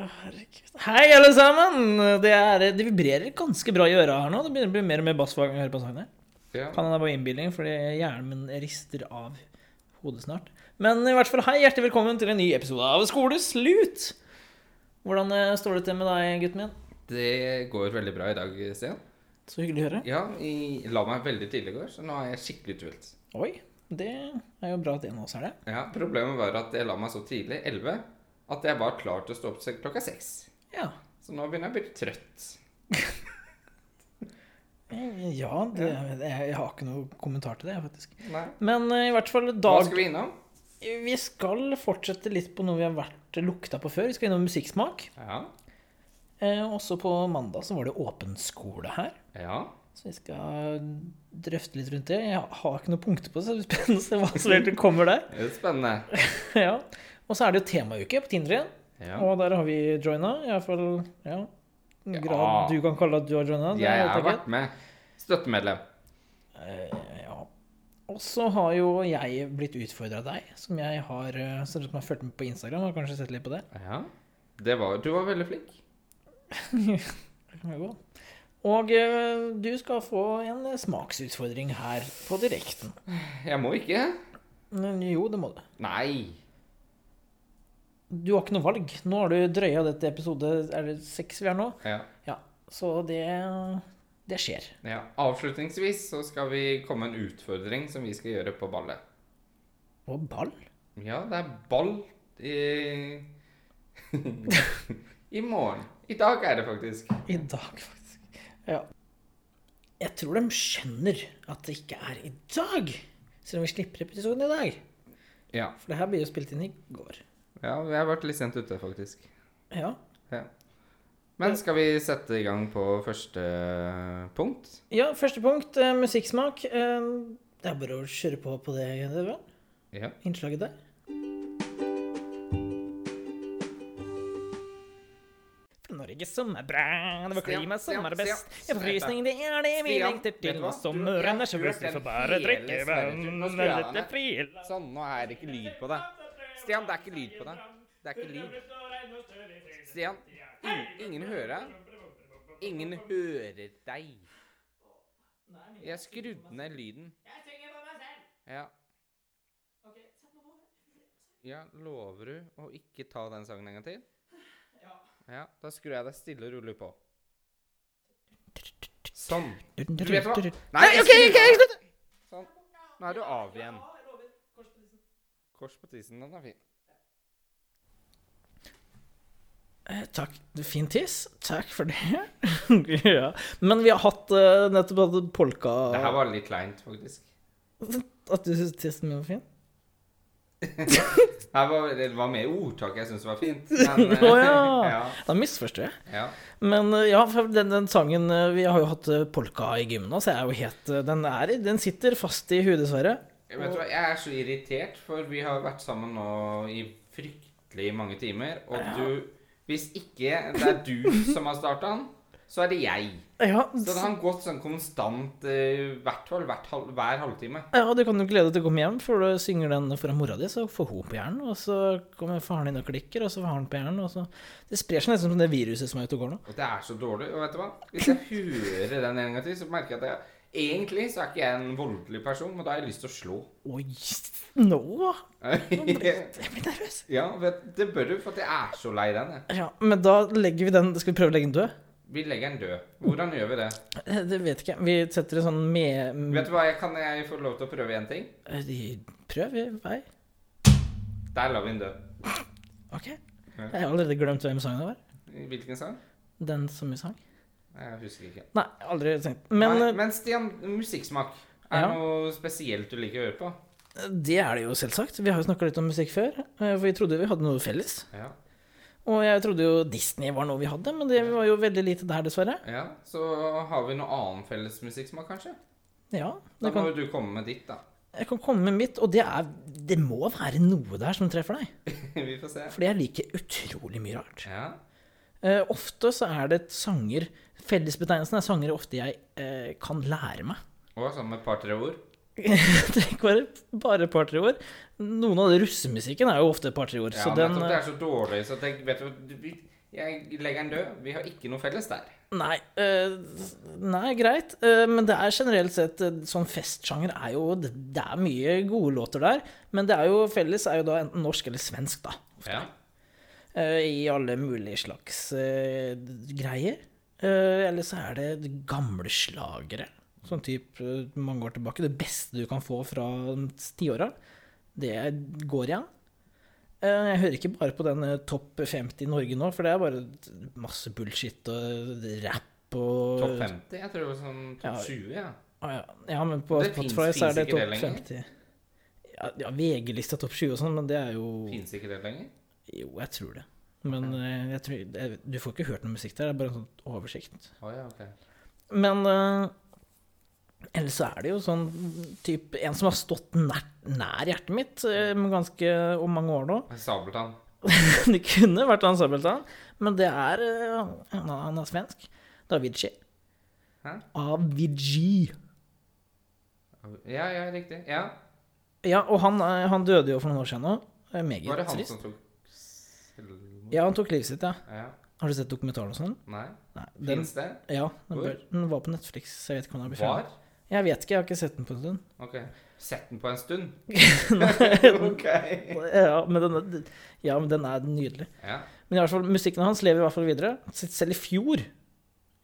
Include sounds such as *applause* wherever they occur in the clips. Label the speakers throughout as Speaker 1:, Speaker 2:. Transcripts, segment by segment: Speaker 1: Å, herregud. Hei, alle sammen! Det, er, det vibrerer ganske bra i øra her nå. Det begynner å bli mer og mer bass hver gang jeg hører på sangen. her.
Speaker 2: Ja.
Speaker 1: Kan hende det er bare innbilning, fordi hjernen min rister av hodet snart. Men i hvert fall, hei, hjertelig velkommen til en ny episode av Skoleslut! Hvordan eh, står det til med deg, gutten min?
Speaker 2: Det går veldig bra i dag, Stian.
Speaker 1: Så hyggelig å høre.
Speaker 2: Ja, jeg la meg veldig tidlig i går, så nå er jeg skikkelig uthvilt.
Speaker 1: Oi, det er jo bra at en av oss er det.
Speaker 2: Ja, problemet var at jeg la meg så tidlig, 11, at jeg var klar til å stå opp selv klokka 6.
Speaker 1: Ja.
Speaker 2: Så nå begynner jeg å bli trøtt.
Speaker 1: Eh, Ja, det, jeg, jeg har ikke noe kommentar til det, faktisk.
Speaker 2: Nei.
Speaker 1: Men eh, i hvert fall,
Speaker 2: Hva
Speaker 1: dag
Speaker 2: skal vi innom?
Speaker 1: Vi skal fortsette litt på noe vi har vært lukta på før. Vi skal innom musikksmak.
Speaker 2: Ja.
Speaker 1: Eh, også på mandag så var det åpen skole her.
Speaker 2: Ja.
Speaker 1: Så vi skal drøfte litt rundt det. Jeg har ikke noen punkter på det, så det blir spennende å se hva
Speaker 2: *laughs*
Speaker 1: som egentlig kommer der.
Speaker 2: Det er spennende.
Speaker 1: ja. Og så er det jo temauke på Tinder igjen,
Speaker 2: Ja.
Speaker 1: og der har vi joina. Iallfall ja. En grad
Speaker 2: Ja.
Speaker 1: du kan kalle at du har joina. det
Speaker 2: Jeg
Speaker 1: vet
Speaker 2: har
Speaker 1: ikke.
Speaker 2: vært med. Støttemedlem.
Speaker 1: Eh, ja. Og så har jo jeg blitt utfordra av deg, som jeg har, eh, som har fulgt med på Instagram. Har kanskje sett litt på det.
Speaker 2: Ja. Det var, du var veldig flink.
Speaker 1: Det kan være godt. Og eh, du skal få en eh, smaksutfordring her på direkten.
Speaker 2: Jeg må ikke.
Speaker 1: Men jo, det må du.
Speaker 2: Nei.
Speaker 1: Du har ikke noe valg. Nå har du drøya dette episode Er det seks vi er nå?
Speaker 2: Ja.
Speaker 1: Ja. Så det Det skjer.
Speaker 2: ja. Avslutningsvis så skal vi komme med en utfordring som vi skal gjøre på ballet.
Speaker 1: Og ball?
Speaker 2: Ja, det er ball i *laughs* I morgen. I dag er det faktisk.
Speaker 1: I dag, faktisk. Ja. Jeg tror de skjønner at det ikke er i dag, selv om vi slipper episoden i dag.
Speaker 2: Ja.
Speaker 1: For det her blir jo spilt inn i går.
Speaker 2: ja jeg har vært litt sent ute, faktisk.
Speaker 1: Ja.
Speaker 2: Ja. Men skal vi sette i gang på første punkt?
Speaker 1: ja første punkt, eh, musikksmak. Eh, det er bare å kjøre på på det, det vel?
Speaker 2: Ja.
Speaker 1: innslaget der. Fra Norge som er bra, det var klima som er best.
Speaker 2: Stian, Stian,
Speaker 1: Opplysning, det er det vi
Speaker 2: Stian,
Speaker 1: lengter
Speaker 2: vet
Speaker 1: til.
Speaker 2: du hva?
Speaker 1: Sommeren
Speaker 2: Du- jeg
Speaker 1: er så
Speaker 2: har hørt
Speaker 1: brusen,
Speaker 2: den
Speaker 1: så bare
Speaker 2: hele
Speaker 1: drikke vann.
Speaker 2: Sverreturen. Nå skrur jeg av
Speaker 1: Dette
Speaker 2: den.
Speaker 1: frie land.
Speaker 2: Sånn, nå er det ikke lyd på det. Stian, det er ikke lyd på det. Det er ikke lyd. Stian, ingen, ingen hører deg. Ingen hører deg. Jeg skrudde ned lyden. Ja. Ja, lover du å ikke ta den sangen en gang til? Ja. Da skrur jeg deg stille og rolig på. Sånn. Du vet hva? Nei, OK, OK, slutt! Sånn. Nå er du av igjen. Kors på tissen, den er fin.
Speaker 1: Eh, Takk. Fin tiss. Takk for det. *laughs* ja. Men vi har hatt eh, nettopp hatt polka
Speaker 2: Det her var litt kleint, faktisk.
Speaker 1: At du syns tissen min var fin?
Speaker 2: Det her var, det var mer ordtak jeg syntes var *laughs* fint. Men,
Speaker 1: Å ja.
Speaker 2: *laughs* ja,
Speaker 1: Da misforstår jeg.
Speaker 2: ja.
Speaker 1: Men eh, ja, for den, den sangen eh, Vi har jo hatt eh, polka i gymmen nå, så jeg er jo helt eh, Den, er, i- den sitter fast i huet, dessverre.
Speaker 2: Jeg Vet du hva, jeg er så irritert, for vi har vært sammen nå i fryktelig mange timer, og du Hvis ikke det er du som har starta den, så er det jeg.
Speaker 1: Ja,
Speaker 2: Så det har gått sånn konstant eh, hvert fall, hvert halv, hver halvtime.
Speaker 1: ja, du kan jo glede deg til å komme hjem, for du synger den foran mora di, så får hun på hjernen, og så kommer faren din og klikker, og så får han på hjernen, og så Det sprer seg nesten som det viruset som er ute og går nå.
Speaker 2: Og det er så dårlig. Og vet du hva? Hvis jeg hører den en gang til, så merker jeg at jeg Egentlig så er ikke jeg en voldelig person, men da har jeg lyst til å slå. *laughs*
Speaker 1: Oi, nå Jeg blir nervøs.
Speaker 2: ja, vet, det bør du, for at jeg er så lei den. Jeg.
Speaker 1: Ja, men da legger vi den Skal vi prøve å legge den død?
Speaker 2: Vi legger den død. Hvordan gjør vi det?
Speaker 1: Eh, Det vet ikke jeg. Vi setter en sånn med...
Speaker 2: Vet du hva, jeg, Kan jeg få lov til å prøve én ting?
Speaker 1: Eh, de- Prøv i vei.
Speaker 2: Der la vi den dø.
Speaker 1: OK. Jeg har allerede glemt hvem sangen var.
Speaker 2: Hvilken sang?
Speaker 1: Den som vi sang?
Speaker 2: Jeg husker ikke.
Speaker 1: Nei, aldri tenkt. Men eh,
Speaker 2: Nei, men Stian, musikksmak. Er det
Speaker 1: Ja.
Speaker 2: noe spesielt du liker å høre på?
Speaker 1: eh, det er det jo selvsagt. Vi har jo snakka litt om musikk før, eh, for vi trodde vi hadde noe felles.
Speaker 2: Ja.
Speaker 1: Og jeg trodde jo Disney var noe vi hadde, men det var jo veldig lite der, dessverre.
Speaker 2: ja. Så har vi noe annen felles musikksmak, kanskje?
Speaker 1: Ja,
Speaker 2: Da
Speaker 1: det
Speaker 2: må
Speaker 1: kan,
Speaker 2: jo du komme med ditt, da. *laughs*
Speaker 1: jeg kan komme med mitt, og det er det må være noe der som treffer deg.
Speaker 2: Vi får se.
Speaker 1: Fordi jeg liker utrolig mye rart.
Speaker 2: Ja.
Speaker 1: Eh, ofte så er det sanger Fellesbetegnelsen er sanger ofte jeg eh, kan lære meg. *laughs*
Speaker 2: Og sånn med et par-tre ord.
Speaker 1: det trenger ikke være bare et par-tre år. Noen av det russemusikken er jo ofte et par-tre år.
Speaker 2: Ja,
Speaker 1: så
Speaker 2: nettopp.
Speaker 1: den eh,
Speaker 2: Det er så dårlig, så tenk, vet du hva, vi, Jeg legger den død. Vi har ikke noe felles der.
Speaker 1: Nei, eh, nei greit. Eh, men det er generelt sett eh, sånn festsjanger er jo Det det er mye gode låter der. Men det er jo felles er jo da enten norsk eller svensk, da.
Speaker 2: Ja.
Speaker 1: Eh, I alle mulige slags eh, greier. Eh, eller så er det gamle slagere. Sånn type eh, mange år tilbake. Det beste du kan få fra tiåra. Det går igjen. Eh, Jeg hører ikke bare på den eh, topp 50 i Norge nå, for det er bare masse bullshit og rap og
Speaker 2: Topp 50? Jeg tror det var sånn
Speaker 1: Ja.
Speaker 2: topp 20, ja.
Speaker 1: Ah, ja. ja, men på
Speaker 2: Det
Speaker 1: Spotify
Speaker 2: finnes-
Speaker 1: så er
Speaker 2: finnes
Speaker 1: det
Speaker 2: ikke det
Speaker 1: topp
Speaker 2: lenger?
Speaker 1: 50. Ja, ja VG-lista topp 20 og sånn, men det er jo
Speaker 2: Fins ikke det lenger?
Speaker 1: Jo, jeg tror det. Men eh, jeg tror, jeg, du får ikke hørt noe musikk der, det er bare en sånn oversikt.
Speaker 2: Å ja, ok.
Speaker 1: Men eh, ellers så er det jo sånn typ, En som har stått nær, nær hjertet mitt eh, med ganske om mange år nå. *laughs*
Speaker 2: Sabeltann.
Speaker 1: det kunne vært Hans Sabeltann, men det er eh, han, er- han er svensk. Det er Avicii.
Speaker 2: Hæ?
Speaker 1: Avicii.
Speaker 2: Ja, ja, riktig. Ja.
Speaker 1: Ja, og han, eh, han døde jo for noen år siden nå. Det er Meget
Speaker 2: Var det han
Speaker 1: trist.
Speaker 2: som tok selvmord?
Speaker 1: Ja, han tok livet sitt, ja.
Speaker 2: Ja.
Speaker 1: Har du sett dokumentaren og sånn?
Speaker 2: Nei.
Speaker 1: Nei. Den,
Speaker 2: Fins det?
Speaker 1: ja, den,
Speaker 2: Hvor?
Speaker 1: bør, den var på Netflix. så Jeg vet ikke om den ble
Speaker 2: Var?
Speaker 1: fjernet. Jeg vet ikke, jeg har ikke sett den på en stund.
Speaker 2: Ok. Sett den på en
Speaker 1: *laughs*
Speaker 2: stund. *laughs*
Speaker 1: Nei,
Speaker 2: ok.
Speaker 1: ja, men den, er- ja, men den er nydelig.
Speaker 2: Ja.
Speaker 1: Men i hvert fall, musikken hans lever i hvert fall videre. Sel- Selv i fjor,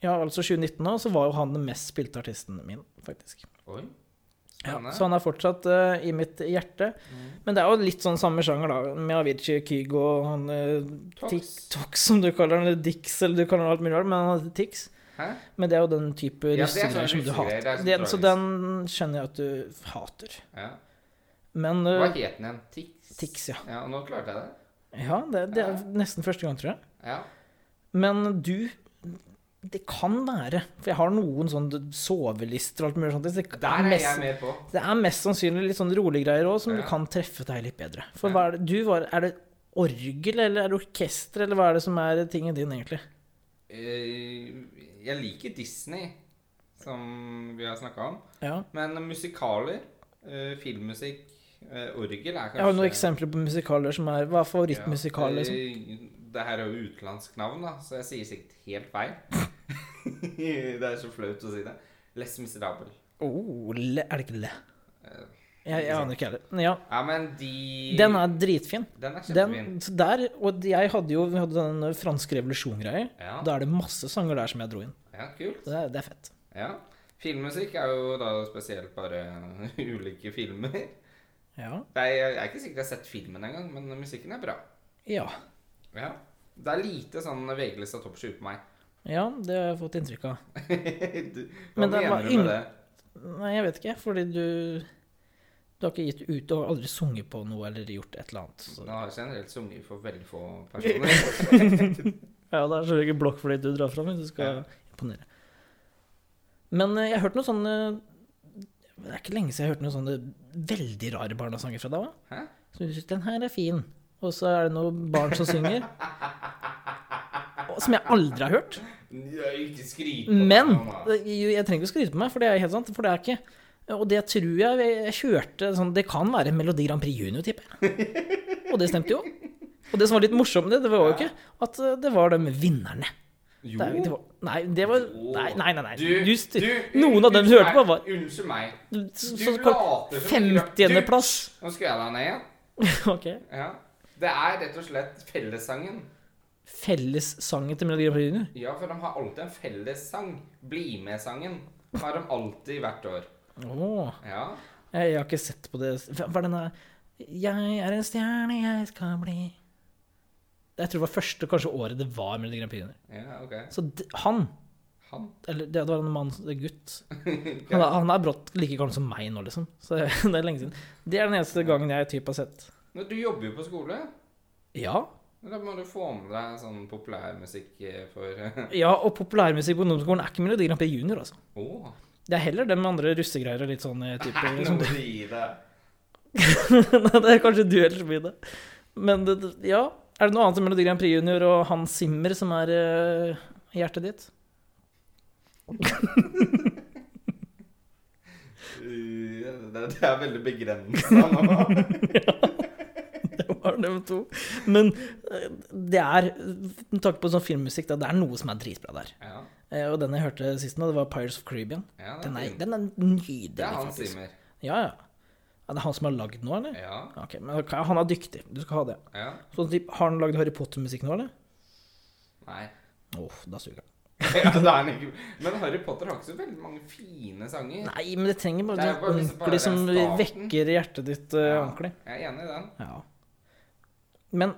Speaker 1: ja, altså 2019 nå, så var jo han den mest spilte artisten min, faktisk.
Speaker 2: Oi.
Speaker 1: Ja,
Speaker 2: Spennende.
Speaker 1: så han er fortsatt eh, i mitt hjerte.
Speaker 2: Mm.
Speaker 1: Men det er jo litt sånn samme sjanger, da, med Avicii, Kygo og han uh,
Speaker 2: Tox.
Speaker 1: TikTok, som du kaller han, eller Dix, eller du kaller han alt mulig rart, men han heter Tix.
Speaker 2: Hæ?
Speaker 1: Men det er jo den type
Speaker 2: det er
Speaker 1: russegreier
Speaker 2: sånne
Speaker 1: som du
Speaker 2: russegreier, det er
Speaker 1: hater.
Speaker 2: sånn
Speaker 1: Den, så
Speaker 2: tragisk.
Speaker 1: den skjønner jeg at du hater.
Speaker 2: Ja.
Speaker 1: Men
Speaker 2: Hva
Speaker 1: uh,
Speaker 2: het den igjen? Tix?
Speaker 1: Tix, ja.
Speaker 2: Ja, og nå klarte jeg det.
Speaker 1: Ja, det, det er nesten første gang, tror jeg.
Speaker 2: Ja.
Speaker 1: Men du Det kan være, for jeg har noen sånne sovelister og alt mulig sånt. så Det
Speaker 2: Der
Speaker 1: er
Speaker 2: er jeg
Speaker 1: mest,
Speaker 2: med på.
Speaker 1: det er mest sannsynlig litt sånn rolige greier òg, som
Speaker 2: Ja.
Speaker 1: kan treffe deg litt bedre. For
Speaker 2: Ja.
Speaker 1: hva er det du var Er det orgel, eller er det orkester, eller hva er det som er tingen din, egentlig?
Speaker 2: Eh, Jeg liker Disney, som vi har snakka om.
Speaker 1: Ja.
Speaker 2: Men musikaler, eh, filmmusikk, eh, orgel er kanskje
Speaker 1: Jeg har noen eksempler på musikaler som er Hva er favorittmusikal, liksom?
Speaker 2: Eh, Det her er jo utenlandsk navn, da, så jeg sier sikkert helt feil. *laughs* det er så flaut å si det. Les Miserable.
Speaker 1: Oh, le, er det ikke le?
Speaker 2: Eh,
Speaker 1: Jeg, jeg aner ikke heller. Men Ja,
Speaker 2: Ja, men de
Speaker 1: den er dritfin.
Speaker 2: Den er kjempefin.
Speaker 1: Den, så der, og jeg hadde jo vi hadde den franske revolusjon-greia.
Speaker 2: Ja.
Speaker 1: Da er det masse sanger der som jeg dro inn.
Speaker 2: ja, kult.
Speaker 1: Det er, det er fett.
Speaker 2: Ja. Filmmusikk er jo da spesielt bare *laughs* ulike filmer. Det
Speaker 1: Ja.
Speaker 2: er, jeg er ikke sikker jeg har sett filmen engang, men musikken er bra.
Speaker 1: Ja,
Speaker 2: Ja. Det er lite sånn VG-lista topp 20 på meg. *laughs*
Speaker 1: ja det har jeg fått inntrykk av.
Speaker 2: du, hva
Speaker 1: Men det er bare
Speaker 2: mener du
Speaker 1: ingen-
Speaker 2: med det?
Speaker 1: Nei, jeg vet ikke, fordi du Du har ikke gitt ut, du har aldri sunget på noe eller gjort et eller annet. Så.
Speaker 2: Nå har jeg generelt sunget for veldig få personer.
Speaker 1: *laughs* Ja, det er selvfølgelig ikke blokkfløyte du drar fram, men du skal
Speaker 2: Ja.
Speaker 1: imponere. Men eh, jeg har hørt noe sånn eh, Det er ikke lenge siden jeg hørte noen sånne veldig rare barnesanger fra deg òg.
Speaker 2: Hæ?
Speaker 1: Så du synes den her er fin. Og så er det noen barn som synger.
Speaker 2: *laughs*
Speaker 1: Og Som jeg aldri har hørt.
Speaker 2: Ja, ikke skryt på
Speaker 1: Men
Speaker 2: deg, mamma.
Speaker 1: det- jo, jeg trenger ikke å skryte på meg, for det er helt sant. For det er ikke Og det tror jeg jeg kjørte sånn Det kan være Melodi Grand Prix Junior, tipper jeg.
Speaker 2: *laughs*
Speaker 1: Og det stemte jo. Og det som var litt morsomt med det, det var jo ikke at eh, det var de vinnerne.
Speaker 2: Jo.
Speaker 1: Det, er jo- det var, nei, det var Nei, nei, nei. nei.
Speaker 2: Du,
Speaker 1: Du, styr-
Speaker 2: du,
Speaker 1: noen av dem du
Speaker 2: unnskyld
Speaker 1: hørte på,
Speaker 2: meg,
Speaker 1: var
Speaker 2: Unnskyld meg.
Speaker 1: så,
Speaker 2: Du
Speaker 1: så,
Speaker 2: later som du-
Speaker 1: 50.-plass.
Speaker 2: Nå skal jeg deg ned igjen.
Speaker 1: *laughs* Ok.
Speaker 2: Ja. Det er rett og slett fellessangen.
Speaker 1: Fellessangen til Melodi Grand Prix Junior.
Speaker 2: Ja, for de har alltid en fellessang. Bli med-sangen har de alltid hvert år.
Speaker 1: Åh.
Speaker 2: Ja.
Speaker 1: Jeg, jeg har ikke sett på det Hva hva er den der Jeg er en stjerne, jeg skal bli Jeg tror det var første kanskje året det var Melodi Grand Prix Junior.
Speaker 2: ja, ok.
Speaker 1: Så d- han
Speaker 2: Han.
Speaker 1: Eller det var en mann, en
Speaker 2: *laughs*
Speaker 1: gutt han er, han er brått like gammel som meg nå, liksom. Så *laughs* det er lenge siden. Det er den eneste gangen jeg typ har sett.
Speaker 2: Men Du jobber jo på skole.
Speaker 1: Ja.
Speaker 2: Da må du få med deg sånn populærmusikk eh, for *laughs* Å.
Speaker 1: ja og populærmusikk på ungdomsskolen er ikke Melodi Grand Prix Junior,
Speaker 2: Liksom
Speaker 1: altså. Det er heller det med andre russegreier og litt sånn eh, type
Speaker 2: Nei, nå
Speaker 1: som,
Speaker 2: må du gi deg.
Speaker 1: Nei, *laughs* det er kanskje du ellers som blir det. Men det, det- ja. Er det noe annet enn Melodi Grand Prix Junior og Hans Zimmer som er eh, hjertet ditt? *laughs*
Speaker 3: Uh, det, det er veldig begrensa nå.
Speaker 1: Det var dem to. Men eh, det er, med tanke på sånn filmmusikk, da, det er noe som er dritbra der.
Speaker 2: *laughs* Ja,
Speaker 1: Eh, Og den jeg hørte sist nå, det var Pirates of Caribbean.
Speaker 2: ja, det,
Speaker 1: Den er,
Speaker 2: fin.
Speaker 1: den er nydelig,
Speaker 2: Ah, det er han
Speaker 1: faktisk.
Speaker 2: Simmer.
Speaker 1: Ja, ja. ja. Det er han som har lagd den nå, eller?
Speaker 2: Ja,
Speaker 1: Ok, men ok, Han er dyktig. Du skal ha det.
Speaker 2: ja.
Speaker 1: Sånn typ, Har han lagd Harry Potter-musikk nå, eller?
Speaker 2: Nei.
Speaker 3: *laughs*
Speaker 1: Åh, da suger han.
Speaker 2: Ja, det er han ikke. Men Harry Potter har ikke så veldig mange fine sanger.
Speaker 1: Nei, men det trenger bare
Speaker 2: Det er
Speaker 1: sånn
Speaker 2: bare hvis det bare
Speaker 1: ordentlig som
Speaker 2: er starten.
Speaker 1: vekker hjertet ditt eh,
Speaker 2: Ja,
Speaker 1: ordentlig.
Speaker 2: Jeg er enig i den.
Speaker 1: Ja. Men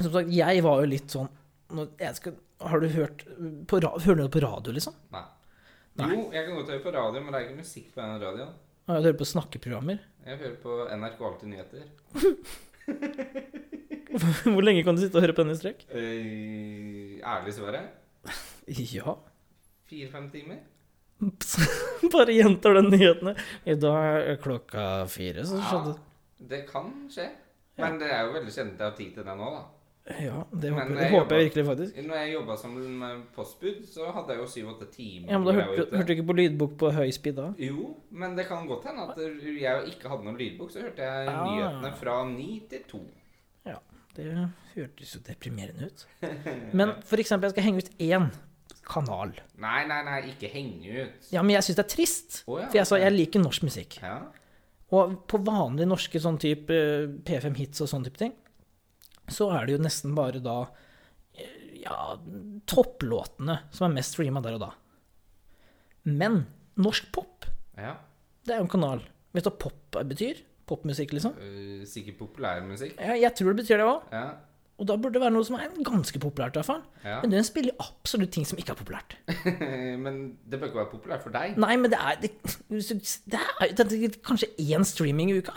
Speaker 1: som sagt, jeg var jo litt sånn når jeg skal, Har du hørt på, ra- Hører du det på radio, liksom?
Speaker 2: Nei.
Speaker 1: Nei.
Speaker 2: Jo, jeg kan godt høre på radio, men det er ikke musikk på den radioen.
Speaker 1: Har du hørt på snakkeprogrammer? *laughs*
Speaker 2: Jeg hører på NRK Alltid Nyheter.
Speaker 1: Hvor lenge kan du sitte og høre på den i strekk?
Speaker 3: Øh,
Speaker 2: Eh, ærlig svaret
Speaker 1: Ja.
Speaker 2: fire-fem timer.
Speaker 1: *laughs* Bare gjentar den nyhetene. I dag er klokka fire, så skjedde
Speaker 2: Det kan skje. Men det er jo veldig sjelden jeg har tid til det nå, da.
Speaker 1: Ja, det
Speaker 2: Men
Speaker 1: håper, det håper
Speaker 2: eh, jeg
Speaker 1: jeg
Speaker 2: jobber.
Speaker 1: virkelig, faktisk.
Speaker 2: Når jeg jobba som postbud, så hadde jeg jo syv-åtte timer.
Speaker 1: Ja, men Da
Speaker 2: hvor jeg
Speaker 1: hørte, du-
Speaker 2: var ute.
Speaker 1: hørte du ikke på lydbok på høy speed da?
Speaker 2: Jo, men det kan godt hende at jeg ikke hadde noen lydbok, så hørte jeg
Speaker 1: Ah.
Speaker 2: nyhetene fra ni til to.
Speaker 1: Det hørtes jo deprimerende
Speaker 2: *laughs*
Speaker 1: ut. Men for eksempel, jeg skal henge ut én kanal.
Speaker 2: Nei, nei, nei, ikke henge ut.
Speaker 1: Ja, men jeg syns det er trist.
Speaker 2: Å, ja.
Speaker 1: For jeg sa jeg liker norsk musikk.
Speaker 2: Ja.
Speaker 1: Og på vanlige norske sånn type eh, P5 Hits og sånn type ting, så er det jo nesten bare da eh, ja, topplåtene som er mest streama der og da. Men norsk pop,
Speaker 2: ja.
Speaker 1: det er jo en kanal. Vet du hva pop betyr? Popmusikk, liksom?
Speaker 2: Øh, sikkert populærmusikk.
Speaker 1: Ja, jeg tror det betyr det òg.
Speaker 2: Ja. *laughs*
Speaker 1: Og da burde det være noe som er ganske populært, i hvert fall.
Speaker 2: ja.
Speaker 1: Men den spiller jo absolutt ting som ikke er populært.
Speaker 2: men det bør ikke være populært for deg.
Speaker 1: Nei, men det er, det, det er, det er kanskje én streaming i uka.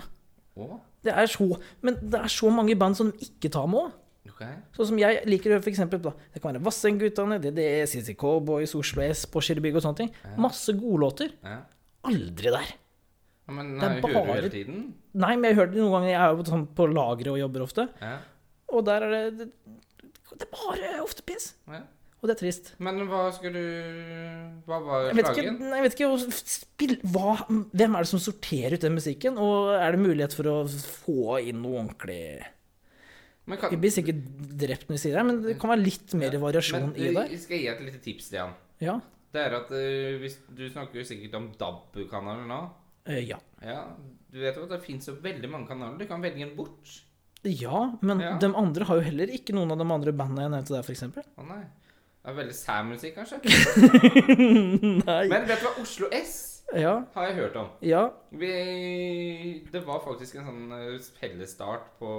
Speaker 2: Å,
Speaker 1: Det er så, men det er så mange band som de ikke tar med òg.
Speaker 2: ok.
Speaker 1: Sånn som jeg liker å høre, for eksempel, da. Det kan være Vassendgutane, DDE, CC Cowboys, Oslo S, Porsgrunn og sånne ting. Masse godlåter.
Speaker 2: Ja.
Speaker 1: Aldri der.
Speaker 2: Ja, Men
Speaker 1: Det er
Speaker 2: jeg hører du
Speaker 1: bare-
Speaker 2: hele tiden?
Speaker 1: Nei, men jeg har hørt det noen ganger. Jeg er jo sånn på lageret og jobber ofte.
Speaker 2: Ja.
Speaker 1: Og der er det Det, det er bare ofte piss.
Speaker 2: ja.
Speaker 1: Og det er trist.
Speaker 2: Men hva skulle du Hva var
Speaker 1: Jeg vet ikke,
Speaker 2: slagen?
Speaker 1: nei, jeg vet ikke å spill, hva, Hvem er det som sorterer ut den musikken? Og er det mulighet for å få inn noe ordentlig
Speaker 2: Men
Speaker 1: Vi
Speaker 2: kan,
Speaker 1: blir sikkert drept når vi sier det, men det kan være litt mer variasjon
Speaker 2: men,
Speaker 1: i det.
Speaker 2: øh, skal jeg gi et lite tips, Stian?
Speaker 1: Ja.
Speaker 2: Det er at øh, hvis, Du snakker jo sikkert om DAB-kanaler nå.
Speaker 1: Eh, ja.
Speaker 2: Ja, Du vet jo at det fins så veldig mange kanaler. Du kan velge en bort.
Speaker 1: ja, men
Speaker 2: Ja.
Speaker 1: de andre har jo heller ikke noen av de andre bandene jeg nevnte der, f.eks.
Speaker 2: Å nei. Det er veldig sær musikk, kanskje.
Speaker 1: *laughs* Nei.
Speaker 2: Men vet du hva? Oslo S
Speaker 1: Ja,
Speaker 2: har jeg hørt om.
Speaker 1: ja.
Speaker 2: Vi, det var faktisk en sånn eh, fellesstart på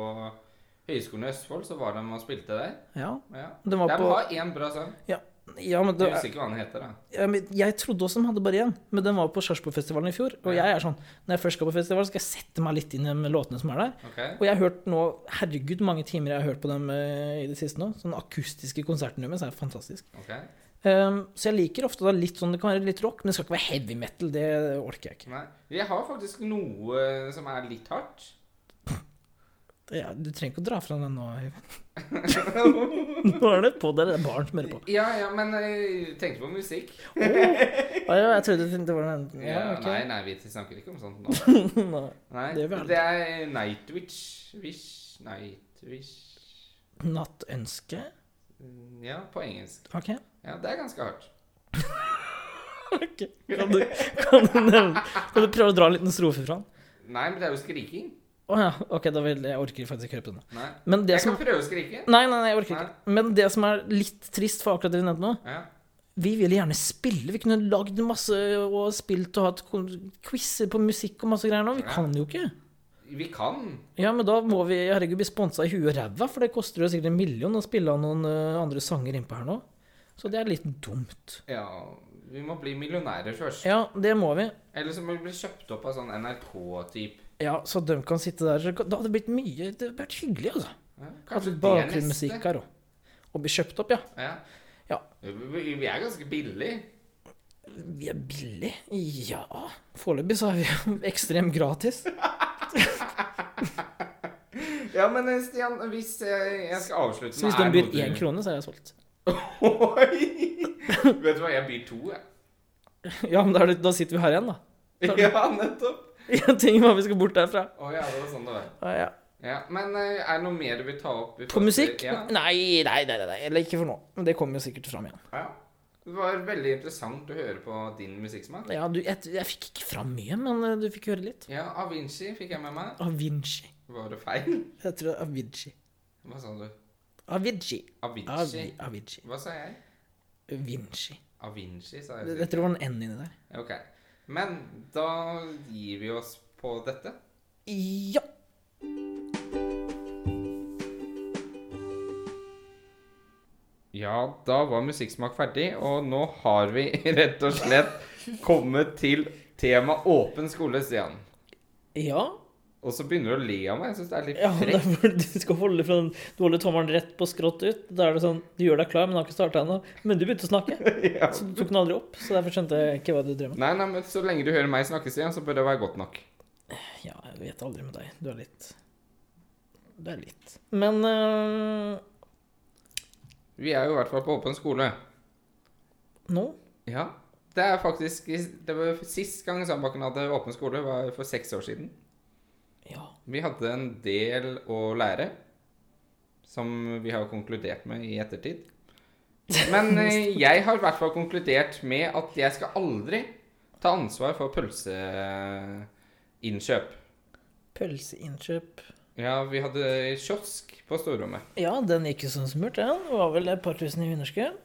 Speaker 2: Høgskolen i Østfold, så var de og spilte der.
Speaker 1: Ja,
Speaker 2: Ja.
Speaker 1: den
Speaker 2: De
Speaker 1: var på
Speaker 2: har én bra sang.
Speaker 1: ja, men det,
Speaker 2: Jeg husker ikke hva den heter, da.
Speaker 1: ja, men Jeg trodde også de hadde bare én, men den var på Sarpsborgfestivalen i fjor. Og
Speaker 2: Ja.
Speaker 1: jeg er sånn Når jeg først skal på festival, skal jeg sette meg litt inn i de låtene som er der.
Speaker 2: Ok?
Speaker 1: Og jeg har hørt nå Herregud, mange timer jeg har hørt på dem eh, i det siste nå. Sånn akustiske konsertene deres er fantastisk.
Speaker 2: ok.
Speaker 1: Ehm, så jeg liker ofte da litt sånn Det kan være litt rock, men det skal ikke være heavy metal. Det orker jeg ikke.
Speaker 2: Nei. Jeg har faktisk noe som er litt hardt.
Speaker 1: *laughs* Det er- du trenger ikke å dra fra den nå. Øyvind. *laughs* nå er det på der. Det er barn som hører på.
Speaker 2: Ja, ja, men jeg tenkte på musikk.
Speaker 1: Å, ja, jeg trodde det var den
Speaker 2: Ja,
Speaker 1: ja,
Speaker 2: Nei,
Speaker 1: ok.
Speaker 2: nei, vi snakker ikke om sånt
Speaker 1: *laughs*
Speaker 2: nå.
Speaker 1: Nei.
Speaker 2: Nei,
Speaker 1: Det er vel-
Speaker 2: det er Nightwitch. Wish, Nightwish
Speaker 1: Nattønske?
Speaker 2: Ja, på engelsk.
Speaker 1: Ok.
Speaker 2: Ja, det er ganske hardt.
Speaker 1: Ok. Kan, du, kan, du nevne, kan du prøve å dra en liten strofe fra den?
Speaker 2: Nei, men det er jo skriking.
Speaker 1: Å ja, ok, da vil jeg orker faktisk ikke høre på den.
Speaker 2: Nei.
Speaker 1: Men det
Speaker 2: Jeg
Speaker 1: som
Speaker 2: kan prøve å skrike.
Speaker 1: Nei, nei, nei, jeg orker ikke. Men det som er litt trist for akkurat det vi nevnte nå,
Speaker 2: Ja.
Speaker 1: vi ville gjerne spille. Vi kunne lagd masse og spilt og hatt kon- quizer på musikk og masse greier nå. Vi
Speaker 2: Ja.
Speaker 1: kan jo ikke.
Speaker 2: Vi kan.
Speaker 1: Ja, men da må vi herregud bli sponsa i huet og ræva, for det koster jo sikkert en million å spille av noen eh, andre sanger innpå her nå. Så det er litt dumt.
Speaker 2: Ja, vi må bli millionærer først.
Speaker 1: Ja, det må vi.
Speaker 2: Eller så må vi bli kjøpt opp av sånn NRK-type.
Speaker 1: Ja, så de kan sitte der. Da hadde det blitt mye Det hadde vært hyggelig, altså.
Speaker 2: Ja,
Speaker 1: At
Speaker 2: kanskje det er
Speaker 1: bakgrunnsmusikk
Speaker 2: neste.
Speaker 1: her òg. Og bli kjøpt opp, ja.
Speaker 2: Ja.
Speaker 1: Ja.
Speaker 2: Vi vi er ganske billige.
Speaker 1: *laughs* Vi er billig. Ja. Foreløpig så er vi jo ekstremt gratis.
Speaker 2: Ja, men eh, Stian, hvis eh, jeg skal avslutte
Speaker 1: Så hvis
Speaker 2: med
Speaker 1: den
Speaker 2: er
Speaker 1: byr
Speaker 2: noe du-
Speaker 1: én krone, så er jeg solgt. *laughs*
Speaker 2: Oi! Vet du hva, jeg byr to, jeg.
Speaker 1: Ja, men da, er det, da sitter vi her igjen, da.
Speaker 2: *laughs* Ja, nettopp.
Speaker 1: *laughs* Jeg tenker hva vi skal bort derfra.
Speaker 2: Å ja, det var sånn det var.
Speaker 1: Ja, ja.
Speaker 2: Ja, men eh, er det noe mer du vil ta opp? i
Speaker 1: På
Speaker 2: forhold til-
Speaker 1: musikk?
Speaker 2: Ja.
Speaker 1: Nei, nei, nei, nei, nei. Eller ikke for nå. Men det kommer jo sikkert fram igjen.
Speaker 2: ja. Det var veldig interessant å høre på din musikksmak.
Speaker 1: Ja, du, jeg, jeg fikk ikke fram mye, men eh, du fikk høre litt.
Speaker 2: Ja, Avinci fikk jeg med meg.
Speaker 1: Avinci.
Speaker 2: Var det feil?
Speaker 1: Jeg tror det er Avicii.
Speaker 2: Hva sa du?
Speaker 1: Avicii.
Speaker 2: Avinci?
Speaker 1: Avi, Avicii.
Speaker 2: Hva sa jeg?
Speaker 1: Vinci.
Speaker 2: Avinci, sa
Speaker 1: Jeg
Speaker 2: jeg.
Speaker 1: jeg tror det var en N inni der.
Speaker 2: Ok. Men da gir vi oss på dette.
Speaker 1: Ja.
Speaker 2: Ja, da var musikksmak ferdig, og nå har vi *laughs* rett og slett kommet til tema åpen skole, Stian.
Speaker 1: Ja.
Speaker 2: Og så begynner du å le av meg. Jeg syns det er litt
Speaker 1: ja men det
Speaker 2: frekt.
Speaker 1: er fordi du skal holde fra Du holder tommelen rett på skrått ut. Da er det sånn Du gjør deg klar, men har ikke starta ennå. Men du begynte å snakke.
Speaker 2: Ja.
Speaker 1: Så du tok den aldri opp. Så derfor skjønte jeg ikke hva du drev med.
Speaker 2: Nei, nei, men så lenge du hører meg snakke, Stian, så bør det være godt nok.
Speaker 1: Ja, jeg vet aldri med deg. Du er litt Du er litt Men øh,
Speaker 2: Vi er jo i hvert fall på åpen skole.
Speaker 1: nå
Speaker 2: Ja. Det er faktisk det var Sist gang Sandbakken hadde åpen skole, var for seks år siden.
Speaker 1: Ja.
Speaker 2: Vi hadde en del å lære, som vi har konkludert med i ettertid. Men eh,
Speaker 1: *laughs*
Speaker 2: jeg har i hvert fall konkludert med at jeg skal aldri ta ansvar for pølseinnkjøp.
Speaker 1: Pølseinnkjøp
Speaker 2: Ja, vi hadde kiosk på storrommet.
Speaker 1: Ja, den gikk jo sånn som smurt, den. Det var vel et par tusen i underskudd.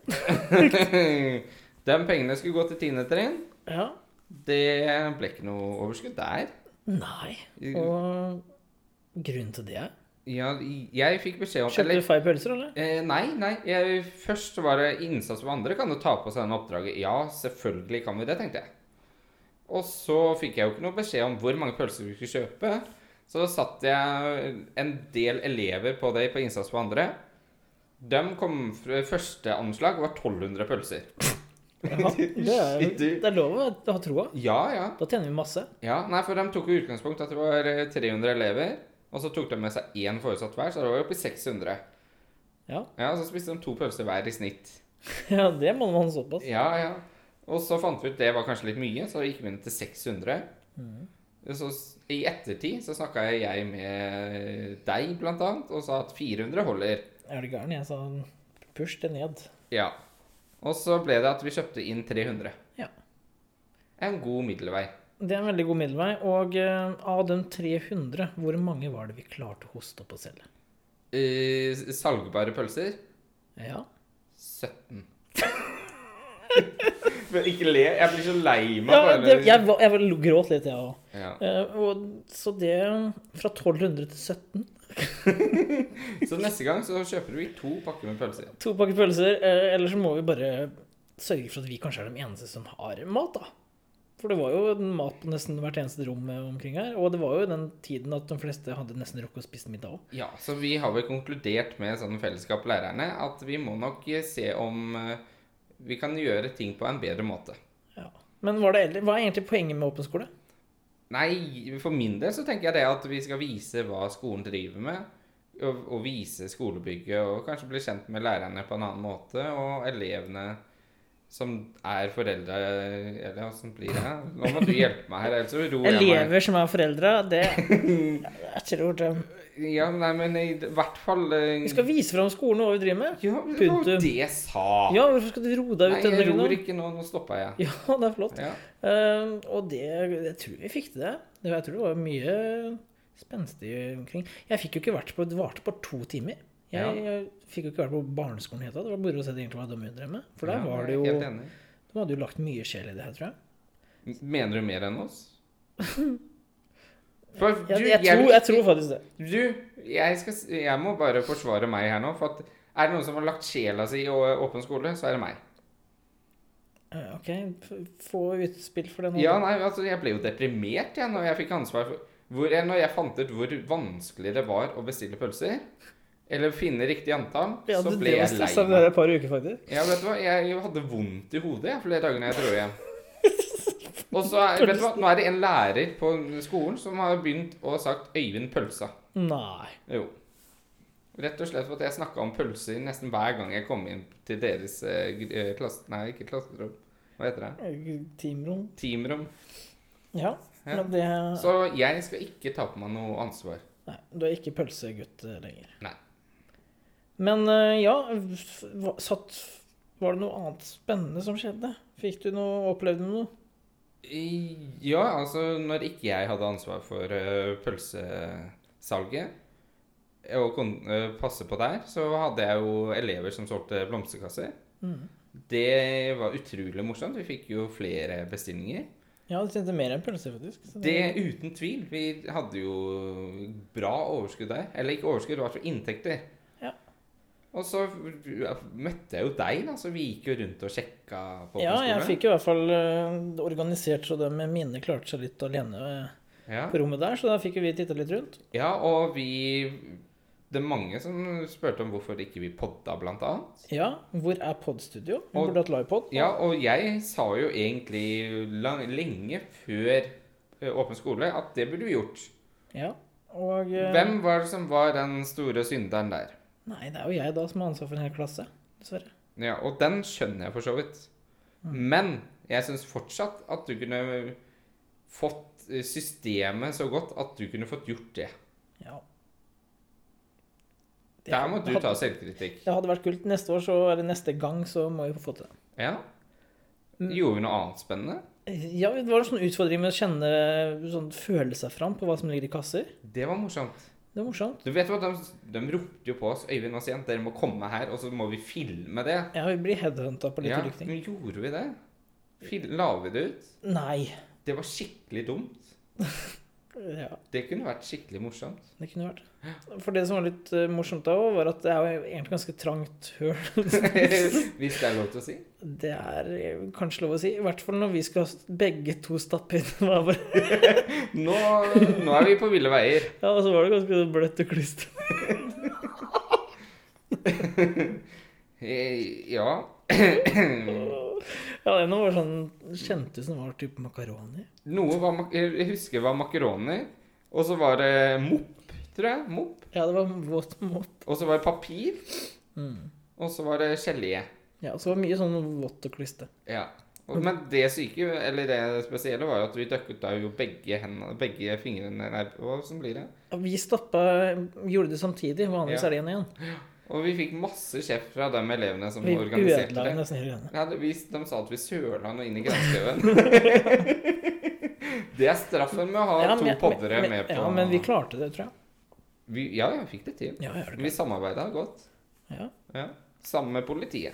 Speaker 2: *laughs* De pengene skulle gå til tiende trinn.
Speaker 1: Ja.
Speaker 2: Det ble ikke noe overskudd der.
Speaker 1: Nei. Og grunnen til det
Speaker 2: Ja, jeg fikk beskjed om
Speaker 1: Kjøpte
Speaker 2: eller,
Speaker 1: du feil pølser, *laughs* eller?
Speaker 2: eh, Nei, nei. Jeg, først så var det innsats for andre. Kan du ta på seg denne oppdraget? Ja, selvfølgelig kan vi det, tenkte jeg. Og så fikk jeg jo ikke noe beskjed om hvor mange pølser vi skulle kjøpe. Så satt jeg en del elever på det på innsats for andre. De kom fra første anslag var 1200 pølser.
Speaker 1: Ja, det, er,
Speaker 3: Shit, du.
Speaker 1: det er lov å ha troa.
Speaker 2: Ja, ja.
Speaker 1: Da tjener vi masse.
Speaker 2: Ja, nei, for de tok jo utgangspunkt at det var eh, 300 elever, og så tok de med seg én foresatt hver, så det var jo oppe i 600.
Speaker 1: Ja. *laughs*
Speaker 2: Ja, så spiste de to pølser hver i snitt.
Speaker 1: ja, det må man ha såpass.
Speaker 2: Ja, ja. Og så fant vi ut det var kanskje litt mye, så gikk vi ned til 600. Så s- i ettertid så snakka jeg med deg, blant annet, og sa at 400 holder.
Speaker 1: Er du gæren? Jeg sa push det ned.
Speaker 2: Ja. Og så ble det at vi kjøpte inn 300.
Speaker 1: Ja.
Speaker 2: En god middelvei.
Speaker 1: Det er en veldig god middelvei. Og eh, av de 300, hvor mange var det vi klarte å hoste opp og selge?
Speaker 2: Eh, s- salgbare pølser
Speaker 1: Ja.
Speaker 2: 17. *laughs* Men ikke le. Jeg blir så lei meg.
Speaker 1: ja
Speaker 2: bare-
Speaker 1: det, jeg, var- jeg var- gråt litt, jeg òg.
Speaker 2: Ja.
Speaker 1: Så det Fra 1200 til 17.
Speaker 2: Så neste gang så kjøper vi to pakker med pølser.
Speaker 1: To pakker pølser. eh, Eller så må vi bare sørge for at vi kanskje er de eneste som har mat, da. For det var jo mat på nesten hvert eneste rom eh, omkring her. Og det var jo den tiden at de fleste hadde nesten rukket å spise middag òg.
Speaker 2: Ja, så vi har vel konkludert med sånn fellesskap lærerne at vi må nok se om eh, vi kan gjøre ting på en bedre måte.
Speaker 1: Ja. Men var det ellers- hva er egentlig poenget med åpen skole?
Speaker 2: Nei, for min del så tenker jeg det at vi skal vise hva skolen driver med. Og, og vise skolebygget, og kanskje bli kjent med lærerne på en annen måte. Og elevene som er foreldre Eller åssen blir det? Nå må du hjelpe meg her, ellers så roer jeg meg.
Speaker 1: Elever som er foreldre, det *laughs* Jeg tror det
Speaker 2: Ja, nei, men i hvert fall eh,
Speaker 1: Vi skal vise fram skolen og hva vi driver med.
Speaker 2: Ja, men det var jo
Speaker 1: Punktum.
Speaker 2: det jeg sa!
Speaker 1: Ja, hvorfor skal du roe deg
Speaker 2: nei,
Speaker 1: ut denne
Speaker 2: jeg ror
Speaker 1: runden?
Speaker 2: ikke nå. Nå stoppa
Speaker 1: *laughs*
Speaker 2: jeg.
Speaker 1: Ja, det er flott.
Speaker 2: Ja.
Speaker 1: Eh, og det Jeg tror vi fikk til det. Det- Jeg tror det var mye spenstig omkring. Jeg fikk jo ikke vært på Det varte bare to timer. Jeg,
Speaker 2: Ja.
Speaker 1: jeg fikk jo ikke vært på barneskolen i det hele tatt. Det var moro å se egentlig hva de drev med. For der
Speaker 2: Ja,
Speaker 1: var
Speaker 2: jeg
Speaker 1: det
Speaker 2: er
Speaker 1: jo
Speaker 2: Helt
Speaker 1: De
Speaker 2: enig.
Speaker 1: hadde jo lagt mye sjel i det her, tror jeg.
Speaker 2: Mener du mer enn oss?
Speaker 1: *laughs*
Speaker 2: For du,
Speaker 1: Jeg, jeg,
Speaker 2: vil
Speaker 1: tror, jeg
Speaker 2: ikke-
Speaker 1: tror faktisk det.
Speaker 2: Du, jeg, skal, s- jeg må bare forsvare meg her nå. For at er det noen som har lagt sjela si i å- åpen skole, så er det meg.
Speaker 1: Eh, OK, f- få utspill for det nå.
Speaker 2: Ja, nei, altså, Jeg ble jo deprimert jeg, når jeg fikk ansvar for hvor, eh, Når jeg fant ut hvor vanskelig det var å bestille pølser, eller finne riktig antall,
Speaker 1: Ja,
Speaker 2: så
Speaker 1: du
Speaker 2: ble
Speaker 1: drev og
Speaker 2: jeg
Speaker 1: stressa
Speaker 2: lei
Speaker 1: med det her
Speaker 2: meg.
Speaker 1: et par uker, faktisk.
Speaker 2: Ja, vet du hva? Jeg hadde vondt i hodet jeg, flere dager når jeg dro hjem.
Speaker 1: *laughs*
Speaker 2: Og så, er- vet du hva? Nå er det en lærer på skolen som har begynt å ha sagt 'Øyvind Pølsa'.
Speaker 1: Nei.
Speaker 2: Jo. Rett og slett for at jeg snakka om pølser nesten hver gang jeg kom inn til deres eh, gr- eh, klasse... Nei, ikke klasserom. Hva heter det?
Speaker 1: Teamrom.
Speaker 2: Teamrom.
Speaker 1: Ja,
Speaker 2: Ja.
Speaker 1: men det
Speaker 2: Så jeg skal ikke ta på meg noe ansvar.
Speaker 1: Nei, du er ikke pølsegutt eh, lenger.
Speaker 2: Nei.
Speaker 1: Men eh, ja, f- hva- satt Var det noe annet spennende som skjedde? Fikk du noe Opplevde du noe?
Speaker 2: I- Ja, altså når ikke jeg hadde ansvar for eh, pølsesalget og kon eh, passe på der, så hadde jeg jo elever som solgte blomsterkasser.
Speaker 1: Mhm.
Speaker 2: Det var utrolig morsomt. Vi fikk jo flere bestillinger.
Speaker 1: Ja, du tjente mer enn pølse, faktisk. så
Speaker 2: Det uten tvil. Vi hadde jo bra overskudd der. Eller ikke overskudd, det var inntekter.
Speaker 1: Ja.
Speaker 2: Og så møtte jeg jo deg, da, så vi gikk jo rundt og sjekka på
Speaker 1: Ja, jeg
Speaker 2: skolen.
Speaker 1: fikk i hvert fall eh, organisert så de mine klarte seg litt alene eh,
Speaker 2: Ja.
Speaker 1: på rommet der, så da fikk jo vi titta litt rundt.
Speaker 2: Ja, og vi Det er mange som spurte om hvorfor ikke vi podda, blant annet.
Speaker 1: Ja, hvor er podstudio? Vi
Speaker 2: Og-
Speaker 1: burde hatt livepod.
Speaker 2: Ja, og jeg sa jo egentlig lang, lenge før eh, Åpen skole at det burde vi gjort.
Speaker 1: Ja, og eh,
Speaker 2: Hvem var det som var den store synderen der?
Speaker 1: Nei, det er jo jeg da som har ansvar for en hel klasse, dessverre.
Speaker 2: Ja, og den skjønner jeg for så vidt.
Speaker 1: Mm.
Speaker 2: Men jeg syns fortsatt at du kunne fått eh, systemet så godt at du kunne fått gjort det.
Speaker 1: Ja. Det-
Speaker 2: Der må du
Speaker 1: det
Speaker 2: ta
Speaker 1: hadde-
Speaker 2: selvkritikk.
Speaker 1: Det hadde vært kult. Neste år, så, eller neste gang, så må vi få til det.
Speaker 2: Ja.
Speaker 1: Mm.
Speaker 2: Gjorde vi noe annet spennende?
Speaker 1: Ja, det var en sånn utfordring med å kjenne sånn, føle seg fram på hva som ligger i kasser.
Speaker 2: Det var morsomt.
Speaker 1: Det er morsomt.
Speaker 2: Du vet hva, de, de ropte jo på oss Øyvind og Sient, dere må komme her, og så må vi filme det.
Speaker 1: Ja, vi blir headhunta på litt
Speaker 2: Ja,
Speaker 1: ulike ting.
Speaker 2: men gjorde vi det? Fil la vi det ut?
Speaker 1: Nei.
Speaker 2: Det var skikkelig dumt.
Speaker 1: Ja,
Speaker 2: Det kunne vært skikkelig morsomt. *laughs*
Speaker 1: det kunne vært. For det som var litt eh, morsomt da òg, var at det er jo egentlig ganske trangt høl. *laughs*
Speaker 2: Hvis det er lov til å si.
Speaker 1: Det er eh, kanskje lov å si. I hvert fall når vi skal s- begge to stappe inn hver vår. *laughs*
Speaker 2: Nå, nå er vi på ville veier.
Speaker 1: Ja, og så var det ganske bløtt og klist.
Speaker 2: Eh, Ja.
Speaker 1: Ja, det ene var sånn Kjente som var type makaroni.
Speaker 2: Noe var mak Jeg husker var makaroni, og så var det mopp, tror jeg. Mopp.
Speaker 1: Ja, det var våt måte.
Speaker 2: Og så var det papir,
Speaker 1: Mm.
Speaker 2: og så var det gelé.
Speaker 1: Ja, så det var mye sånn vått og kliste.
Speaker 2: Ja.
Speaker 1: Mm.
Speaker 2: Og, men det syke, eller det spesielle, var jo at vi døkket da jo begge hendene, begge fingrene Nei, hva som blir det?
Speaker 1: Og Vi stappa Gjorde det samtidig. Vanligvis
Speaker 2: Ja.
Speaker 1: er det én igjen.
Speaker 2: Og vi fikk masse kjeft fra de elevene som
Speaker 1: Vi ødela
Speaker 2: organiserte
Speaker 1: jo
Speaker 2: det.
Speaker 1: nesten hele greiene.
Speaker 2: Ja, det vi, de sa at vi søla noe inn
Speaker 1: *laughs*
Speaker 2: i granskauen. det er straffen med å ha
Speaker 1: Ja,
Speaker 2: to
Speaker 1: men-
Speaker 2: poddere
Speaker 1: men-
Speaker 2: med på
Speaker 1: Ja, men vi klarte det, tror jeg.
Speaker 2: Vi- Ja, jeg fikk det til.
Speaker 1: Ja, gjør det
Speaker 2: Vi samarbeida godt.
Speaker 1: Ja. *laughs*
Speaker 2: Ja. Sammen med politiet.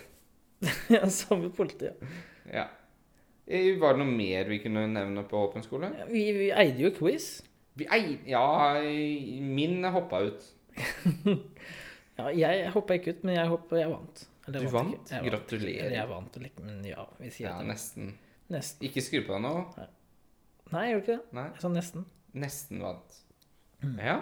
Speaker 1: klart. Samme politi. ja.
Speaker 2: Ja. Eh, Var det noe mer vi kunne nevne på Åpen skole?
Speaker 1: Vi, vi eide jo quiz.
Speaker 2: Vi ei... Ja, eh, min hoppa ut.
Speaker 1: Ja, jeg hoppa ikke ut, men jeg, hoppet, jeg vant. Eller,
Speaker 2: Du
Speaker 1: jeg
Speaker 2: vant?
Speaker 1: ikke. Jeg vant. Eller
Speaker 2: Gratulerer.
Speaker 1: jeg vant, eller ikke, men ja. Vi sier
Speaker 2: Ja,
Speaker 1: at det
Speaker 2: nesten.
Speaker 1: nesten.
Speaker 2: Ikke skru på deg nå.
Speaker 1: Nei, jeg gjorde ikke det.
Speaker 2: Nei.
Speaker 1: Jeg sa nesten.
Speaker 2: Nesten vant. Ja.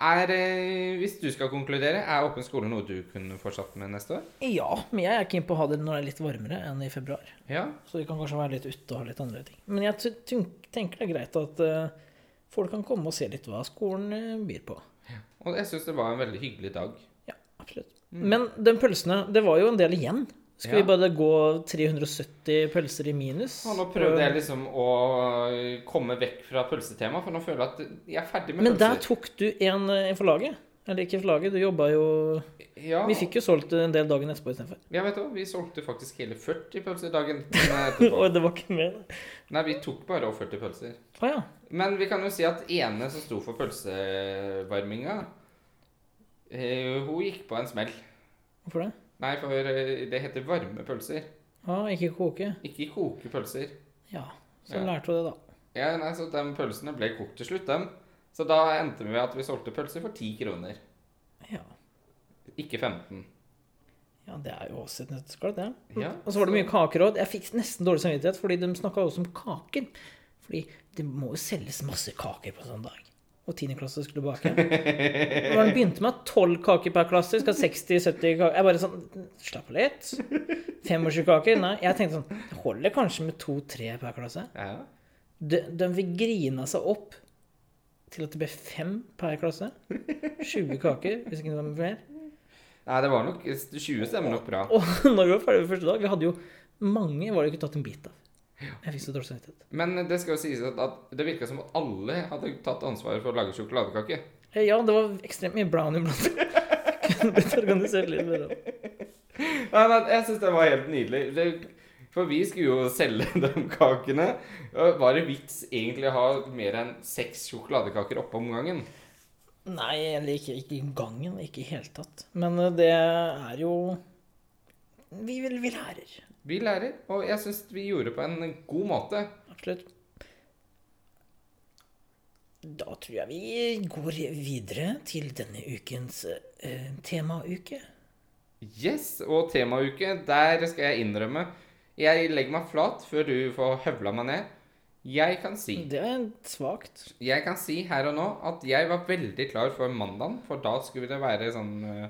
Speaker 2: Er, eh, hvis du skal konkludere, er åpen skole noe du kunne fortsatt med neste år?
Speaker 1: Ja, men jeg er keen på å ha det når det er litt varmere enn i februar.
Speaker 2: Ja.
Speaker 1: Så vi kan kanskje være litt ute og ha litt andre ting. Men jeg ty- tyn- tenker det er greit at eh, folk kan komme og se litt hva skolen eh, byr på.
Speaker 2: Og jeg syns det var en veldig hyggelig dag.
Speaker 1: Ja, absolutt. Men de pølsene, det var jo en del igjen. Skal
Speaker 2: Mm.
Speaker 1: vi
Speaker 2: Ja.
Speaker 1: bare gå 370 pølser i minus?
Speaker 2: Og nå prøvde jeg liksom å eh, komme vekk fra pølsetemaet, for nå føler jeg at jeg er ferdig med
Speaker 1: Men der
Speaker 2: pølser.
Speaker 1: tok du en eh, for laget. Eller ikke for laget, du jobba jo
Speaker 2: Ja,
Speaker 1: Vi fikk jo solgt en del dagen etterpå
Speaker 2: *laughs*
Speaker 1: istedenfor.
Speaker 2: ja, vet du, hva, vi solgte faktisk hele 40 pølser dagen
Speaker 1: Og *laughs*
Speaker 2: etterpå.
Speaker 1: det var ikke med.
Speaker 2: Nei, vi tok bare over 40 pølser.
Speaker 1: Å ja.
Speaker 2: Men vi kan jo si at ene som sto for pølsevarminga, eh, hun gikk på en smell.
Speaker 1: Hvorfor det?
Speaker 2: Nei, for eh, det heter varme pølser,
Speaker 1: Ja, ikke koke.
Speaker 2: ikke koke pølser.
Speaker 1: Ja. Så
Speaker 2: Ja.
Speaker 1: lærte du det, da.
Speaker 2: Ja, nei, så de pølsene ble kokt til slutt, dem. Så da endte vi med at vi solgte pølser for 10 kroner,
Speaker 1: Ja.
Speaker 2: ikke 15.
Speaker 1: Ja, det er jo også et nøtteskall, det.
Speaker 2: Ja,
Speaker 1: Mm. og så var det mye kaker òg. Jeg fikk nesten dårlig samvittighet, fordi de snakka også om kaker. Fordi det må jo selges masse kaker på en sånn dag. Og tiendeklasse skulle bake. Og han begynte med tolv kaker per klasse. Skal 60-70 kaker Jeg bare sånn Slapp av litt. 25 kaker? Nei. Jeg tenkte sånn Det holder kanskje med to-tre per klasse.
Speaker 2: Ja,
Speaker 1: De, de fikk grina seg opp til at det ble fem per klasse. 20 kaker, hvis ikke det var mer.
Speaker 2: Nei, det var nok 20 stemmer nok bra.
Speaker 1: Og *laughs* når vi var ferdig med første dag, vi hadde jo mange var det ikke tatt en bit av. Jeg fikk så dårlig samvittighet.
Speaker 2: Men det skal jo sies at, at det virka som at alle hadde tatt ansvaret for å lage sjokoladekake.
Speaker 1: Eh, Ja, det var ekstremt mye brownie blant *laughs* Kunne blitt organisert litt bedre.
Speaker 2: Nei, nei, jeg syns det var helt nydelig. Det, for vi skulle jo selge *laughs* de kakene. Og Var det vits egentlig å ha mer enn seks sjokoladekaker oppe om gangen?
Speaker 1: Nei, eller ikke, ikke i gangen. Ikke i hele tatt. Men eh, det er jo Vi vil, vi lærer.
Speaker 2: Vi lærer, og jeg syns vi gjorde det på en god måte.
Speaker 1: Absolutt. Da tror jeg vi går videre til denne ukens eh, temauke.
Speaker 2: Yes, og temauke, der skal jeg innrømme Jeg legger meg flat før du får høvla meg ned. Jeg kan si
Speaker 1: Det er svakt.
Speaker 2: Jeg kan si her og nå at jeg var veldig klar for mandagen, for da skulle det være sånn eh,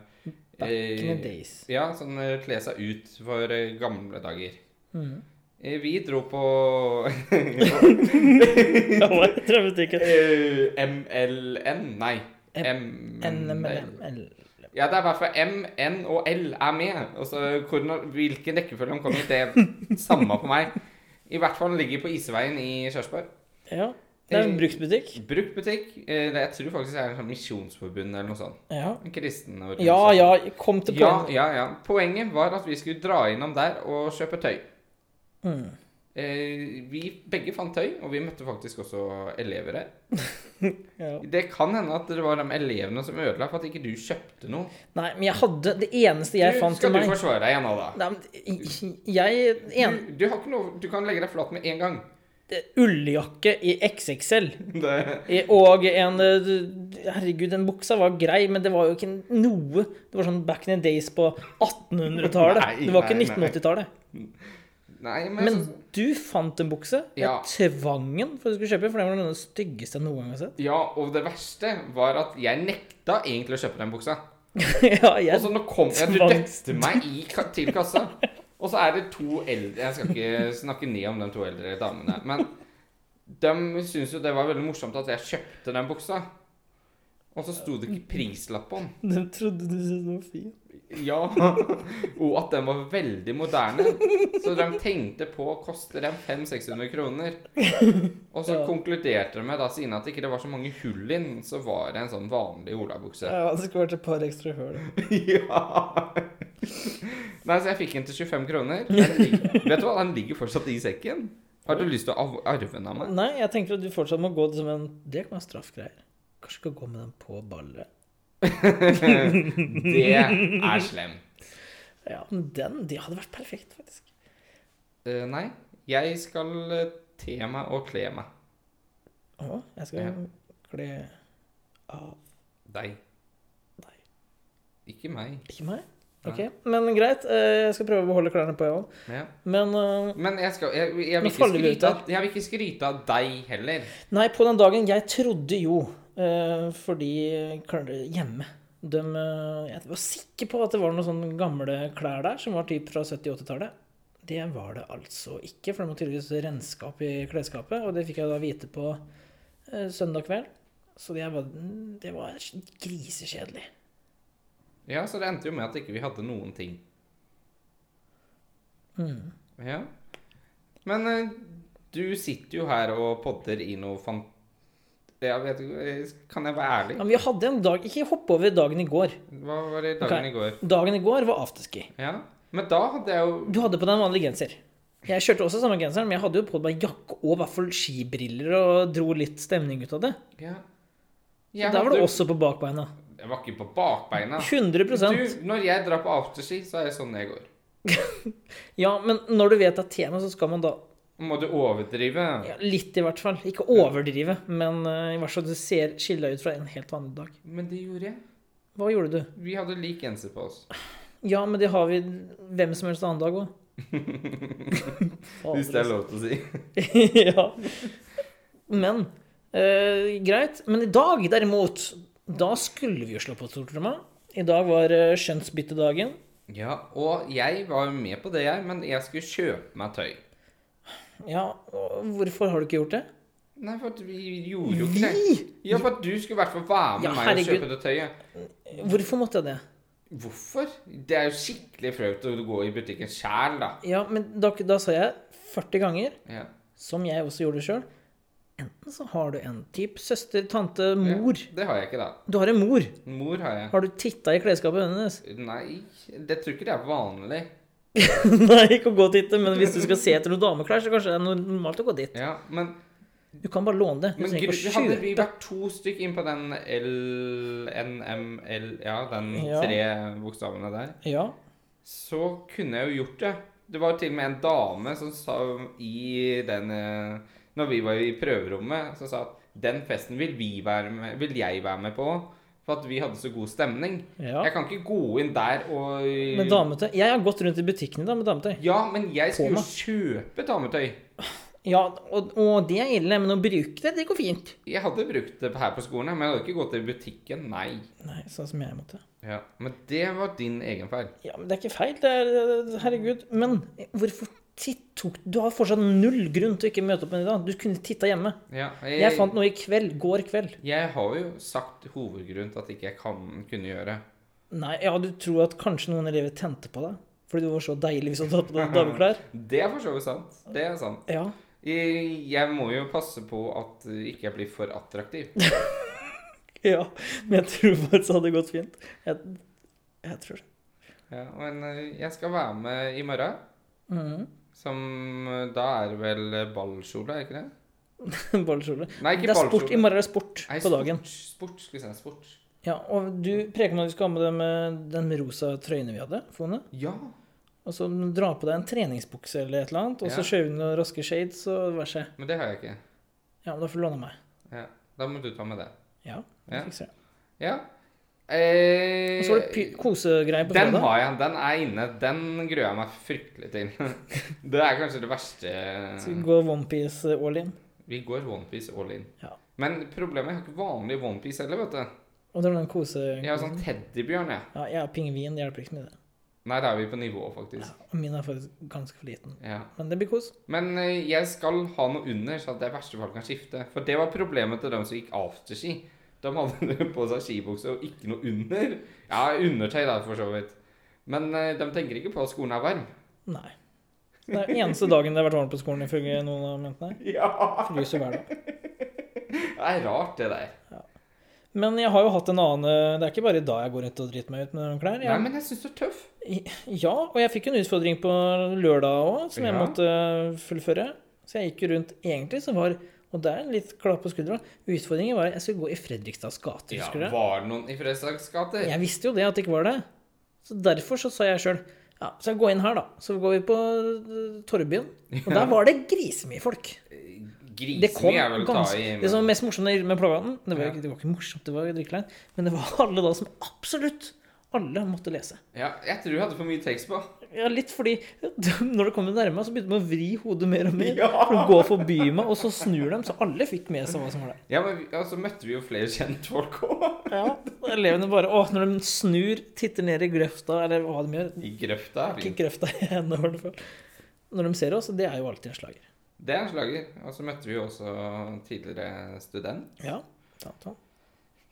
Speaker 1: Back in the
Speaker 2: eh,
Speaker 1: days. *laughs*
Speaker 2: Ja, sånn eh, kle seg ut for eh, gamle dager.
Speaker 1: Mhm.
Speaker 2: Eh, Vi dro på
Speaker 1: Ja, hva er drømmestikken?
Speaker 2: *laughs* eh, MLN Nei. MNL.
Speaker 1: NML.
Speaker 2: Ja, det er i hvert fall M, N og L er med. Og så hvordan- Hvilken rekkefølge de kommer i,
Speaker 1: *laughs*
Speaker 2: det er samme på meg. I hvert fall ligger på Isveien i Kjørsborg.
Speaker 1: Ja. Det er en bruktbutikk.
Speaker 2: Bruktbutikk. eh, Jeg tror faktisk det er en sånn misjonsforbund eller noe sånt.
Speaker 1: Ja.
Speaker 2: En kristen organisasjon.
Speaker 1: ja, ja, kom til
Speaker 2: Ja,
Speaker 1: poenget.
Speaker 2: ja, ja. Poenget var at vi skulle dra innom der og kjøpe tøy.
Speaker 1: Mm.
Speaker 2: Eh, vi begge fant tøy, og vi møtte faktisk også elever her.
Speaker 1: Ja.
Speaker 2: Det kan hende at det var de elevene som ødela for at ikke du kjøpte noe.
Speaker 1: Nei, men jeg hadde Det eneste jeg
Speaker 2: Du,
Speaker 1: fant til
Speaker 2: skal
Speaker 1: meg
Speaker 2: du forsvare deg igjen nå, da?
Speaker 1: Nei, men jeg en,
Speaker 2: Du, du, har ikke noe, du kan legge deg flat med en gang.
Speaker 1: Ulljakke i XXL
Speaker 2: Det,
Speaker 1: i- og en eh, Herregud, den buksa var grei, men det var jo ikke noe Det var sånn back in the days på 1800-tallet.
Speaker 2: Nei,
Speaker 1: Det var ikke
Speaker 2: nei, nei.
Speaker 1: 1980-tallet.
Speaker 2: nei, men,
Speaker 1: Men du fant en bukse.
Speaker 2: Ja.
Speaker 1: Jeg tvang den for at du skulle kjøpe, for den var den styggeste jeg noen gang har sett. *laughs*
Speaker 2: Ja, og det verste var at jeg nekta egentlig å kjøpe den buksa.
Speaker 1: ja, jeg
Speaker 2: Og så nå kom jeg, du
Speaker 1: Tvang-
Speaker 2: døpte meg i, ka- til kassa. Og så er det to eldre Jeg skal ikke snakke ned om de to eldre damene, men de syntes jo det var veldig morsomt at jeg kjøpte den buksa. Og så sto det ikke prislapp på den.
Speaker 1: De trodde du syntes det var fint.
Speaker 2: Ja. *laughs* Og at den var veldig moderne. Så de tenkte på koster den 500-600 kroner. Og så
Speaker 1: Ja.
Speaker 2: konkluderte de med, da, siden at det ikke var så mange hull i den, så var det en sånn vanlig olabukse.
Speaker 1: det skulle vært et par ekstra høl.
Speaker 2: Ja. Nei, så jeg fikk den til 25 kroner. Den ligger, vet du hva, den ligger fortsatt i sekken. Har du lyst til å av- arve den av meg?
Speaker 1: Nei, jeg tenker at du fortsatt må gå som en Det kan være straffgreier. Kanskje du skal gå med den på ballet.
Speaker 2: Det er slemt.
Speaker 1: Ja, men den, det hadde vært perfekt, faktisk.
Speaker 2: Eh, nei, jeg skal eh, te meg og kle meg.
Speaker 1: Å, jeg skal
Speaker 2: Ja.
Speaker 1: kle av
Speaker 2: Deg.
Speaker 1: Deg.
Speaker 2: Ikke meg.
Speaker 1: Ikke meg? Ok, men greit. eh, Jeg skal prøve å beholde klærne på, jeg òg.
Speaker 2: Ja.
Speaker 1: Men eh,
Speaker 2: Men jeg, skal, jeg, jeg,
Speaker 1: Nå
Speaker 2: vil ikke
Speaker 1: faller vi ut
Speaker 2: skryte, av- jeg vil ikke skryte av deg heller.
Speaker 1: Nei, på den dagen Jeg trodde jo, eh, fordi klær hjemme de, eh, Jeg var sikker på at det var noen sånne gamle klær der som var typ fra 70-80-tallet. Det var det altså ikke, for de må tydeligvis renske opp i klesskapet. Og det fikk jeg da vite på eh, søndag kveld. Så det var, det var grisekjedelig.
Speaker 2: Ja, så det endte jo med at ikke vi hadde noen ting.
Speaker 1: Mm.
Speaker 2: Ja. Men eh, du sitter jo her og podder i noe fan... Jeg vet ikke, eh, kan jeg være ærlig?
Speaker 1: Ja, men vi hadde en dag Ikke hopp over dagen i går.
Speaker 2: Hva var det dagen
Speaker 1: Ok.
Speaker 2: i går?
Speaker 1: Dagen i går var afterski.
Speaker 2: Ja. Men da hadde jeg jo...
Speaker 1: Du hadde på deg en vanlig genser. Jeg kjørte også samme genseren, men jeg hadde jo på meg jakke og i hvert fall skibriller og dro litt stemning ut av det.
Speaker 2: Ja.
Speaker 1: Så
Speaker 2: Jeg
Speaker 1: der var det
Speaker 2: hadde-
Speaker 1: også på bakbeina.
Speaker 2: Jeg var ikke på bakbeina.
Speaker 1: 100
Speaker 2: Du, når jeg drar på afterski, så er det sånn jeg går.
Speaker 1: Ja, men når du vet at tema, så skal man da
Speaker 2: Må du overdrive?
Speaker 1: ja, Litt, i hvert fall. Ikke overdrive, men eh, i hvert fall du ser skille deg ut fra en helt vanlig dag.
Speaker 2: Men det gjorde jeg.
Speaker 1: Hva gjorde du?
Speaker 2: Vi hadde lik genser på oss.
Speaker 1: Ja, men det har vi hvem som helst annen dag
Speaker 2: *laughs*
Speaker 1: altså. òg.
Speaker 2: Hvis det er lov til å si.
Speaker 1: *laughs* ja. Men eh, greit. Men i dag, derimot, da skulle vi jo slå på stortromma. I dag var uh, skjønnsbyttedagen.
Speaker 2: Ja, og jeg var jo med på det, jeg, men jeg skulle kjøpe meg tøy.
Speaker 1: Ja, og hvorfor har du ikke gjort det?
Speaker 2: Nei, for at vi gjorde jo ikke det.
Speaker 1: Vi?
Speaker 2: Ja, for at du skulle i hvert fall være med
Speaker 1: Ja,
Speaker 2: meg og
Speaker 1: herregud.
Speaker 2: kjøpe det tøyet.
Speaker 1: Hvorfor måtte jeg det?
Speaker 2: Hvorfor? Det er jo skikkelig flaut å gå i butikken sjæl, da.
Speaker 1: Ja, men da, da sa jeg 40 ganger,
Speaker 2: Ja.
Speaker 1: som jeg også gjorde sjøl. Enten så har du en type søster, tante, mor.
Speaker 2: Det har jeg ikke, da.
Speaker 1: Du har en mor.
Speaker 2: Mor har jeg.
Speaker 1: Har du titta i klesskapet hennes? *laughs*
Speaker 2: Nei, det tror ikke det er vanlig.
Speaker 1: Nei, ikke å gå og titte, men hvis du skal se etter noen dameklær, så kanskje det er normalt å gå dit.
Speaker 2: Ja, men,
Speaker 1: Du kan bare låne det. Du
Speaker 2: men
Speaker 1: trenger
Speaker 2: gud,
Speaker 1: ikke å
Speaker 2: hadde
Speaker 1: skjule
Speaker 2: vi vært to stykk inn på den LNML Ja, den
Speaker 1: Ja.
Speaker 2: tre bokstavene der,
Speaker 1: Ja.
Speaker 2: så kunne jeg jo gjort det. Det var jo til og med en dame som sa i den eh, Når vi var i prøverommet, som sa at den festen vil, vi være med, vil jeg være med på. For at vi hadde så god stemning.
Speaker 1: Ja.
Speaker 2: Jeg kan ikke gå inn der og
Speaker 1: Med dametøy. Jeg har gått rundt i butikkene da med dametøy.
Speaker 2: Ja, men jeg
Speaker 1: På
Speaker 2: skulle jo kjøpe dametøy.
Speaker 1: Ja, og, og det er ille, men å bruke det, det går fint.
Speaker 2: Jeg hadde brukt det her på skolen, men jeg hadde ikke gått i butikken. Nei.
Speaker 1: Nei, sånn som jeg måtte.
Speaker 2: Ja, Men det var din egen feil.
Speaker 1: Ja, men det er ikke feil. Det er Herregud. Men hvorfor titt- tok Du har fortsatt null grunn til å ikke møte opp med det i dag. Du kunne titta hjemme.
Speaker 2: Ja,
Speaker 1: Jeg fant noe i kveld. Går kveld.
Speaker 2: jeg har jo sagt hovedgrunnen til at ikke jeg kan kunne gjøre.
Speaker 1: Nei, ja, du tror at kanskje noen elever tente på deg? Fordi du var så deilig hvis du hadde tatt på
Speaker 2: *laughs*
Speaker 1: deg dameklær?
Speaker 2: Det er for så vidt sant. Det er sant.
Speaker 1: Ja.
Speaker 2: Jeg jeg må jo passe på at eh, ikke jeg blir for
Speaker 1: *laughs*
Speaker 2: attraktiv.
Speaker 1: Ja, men jeg tror faktisk det hadde gått fint. Jeg, jeg tror det. *laughs*
Speaker 2: Ja, men eh, jeg skal være med i morgen.
Speaker 1: Mm.
Speaker 2: Som eh, Da er det vel eh, ballkjole, er ikke det?
Speaker 1: Ballkjole.
Speaker 2: Nei,
Speaker 1: Det
Speaker 2: ikke
Speaker 1: er sport. I
Speaker 2: ballkjole.
Speaker 1: morgen er det sport
Speaker 2: Nei,
Speaker 1: på dagen.
Speaker 2: Sport, sport, skal vi si. Sport.
Speaker 1: Ja, og du preker med at du skal ha med deg med den rosa trøyene vi hadde. Fone.
Speaker 2: Ja.
Speaker 1: Og så dra på deg en treningsbukse eller et eller annet, og så
Speaker 2: Ja.
Speaker 1: kjører vi noen raske shades, og vær seg.
Speaker 2: Men det har jeg ikke.
Speaker 1: Ja, men da får du låne meg.
Speaker 2: Ja, Da må du ta med det.
Speaker 1: Ja, det
Speaker 2: Ja.
Speaker 1: fikser jeg.
Speaker 2: Ja.
Speaker 1: Og
Speaker 2: Eh,
Speaker 1: så var det py- kosegreier på
Speaker 2: den
Speaker 1: fredag.
Speaker 2: har jeg. Den er inne. Den gruer jeg meg fryktelig til. *laughs* det er kanskje det verste
Speaker 1: Skal vi gå Onepiece eh, all in?
Speaker 2: Vi går OnePiece all in.
Speaker 1: Ja.
Speaker 2: Men problemet er jeg har ikke vanlig OnePiece heller, vet du.
Speaker 1: Og det er den kose...
Speaker 2: Jeg har sånn teddybjørn, jeg.
Speaker 1: Ja, jeg har pingvin, det hjelper ikke med det.
Speaker 2: Nei, da er vi på nivå, faktisk.
Speaker 1: Ja, og min er faktisk ganske for liten.
Speaker 2: Ja.
Speaker 1: Men det blir kos.
Speaker 2: Men eh, jeg skal ha noe under, så at jeg i verste fall kan skifte. For det var problemet til dem som gikk afterski. De hadde *laughs* på seg skibukse og ikke noe under. Ja, undertøy, da, for så vidt. Men eh, de tenker ikke på at skolen er varm.
Speaker 1: Nei. Det er den eneste dagen det har vært varmt på skolen, ifølge noen av jentene.
Speaker 2: Ja!
Speaker 1: Fryser hver dag.
Speaker 2: Det er rart, det der.
Speaker 1: Men jeg har jo hatt en annen eh, Det er ikke bare i dag jeg går rundt og driter meg ut med noen klær.
Speaker 2: Nei,
Speaker 1: Jeg,
Speaker 2: men jeg syns du er tøff.
Speaker 1: ja, og jeg fikk en utfordring på lørdag òg, som jeg
Speaker 2: Ja.
Speaker 1: måtte eh, fullføre. Så jeg gikk jo rundt egentlig, så var Og det er en litt klapp på skuldra. Utfordringen var at jeg skulle gå i Fredrikstads gate,
Speaker 2: Ja,
Speaker 1: husker du? det?
Speaker 2: var det noen i Fredriksdags gate?
Speaker 1: Jeg visste jo det, at det ikke var det. Så derfor så sa jeg sjøl ja, så jeg går inn her, da. Så går vi på eh, Torvbyen. Og der var det grisemye folk. Det kom
Speaker 2: Grisemye er vel å ta
Speaker 1: ganske liksom-
Speaker 2: i.
Speaker 1: Det som var mest morsomt med plagaten det var,
Speaker 2: Ja.
Speaker 1: ikke- det var ikke morsomt, det var drikkelein, men det var alle da som absolutt alle måtte lese.
Speaker 2: Ja, jeg tror jeg hadde for mye tekst på.
Speaker 1: Ja, litt fordi *laughs* når det kom nærmere, så begynte man å vri hodet mer og mer.
Speaker 2: Ja.
Speaker 1: For å gå forbi meg, og så snur de, så alle fikk med seg hva som var der.
Speaker 2: Ja, men vi, ja, så møtte vi jo flere kjentfolk òg.
Speaker 1: Ja, Elevene bare Å, når de snur, titter ned i grøfta, eller hva de gjør.
Speaker 2: *laughs* I grøfta. er
Speaker 1: Ikke
Speaker 2: fint.
Speaker 1: grøfta *laughs* ennå, i hvert fall. Når de ser oss, det er jo alltid en slager.
Speaker 2: Det er en slager. Og så møtte vi jo også tidligere student.
Speaker 1: Ja, ta, ta.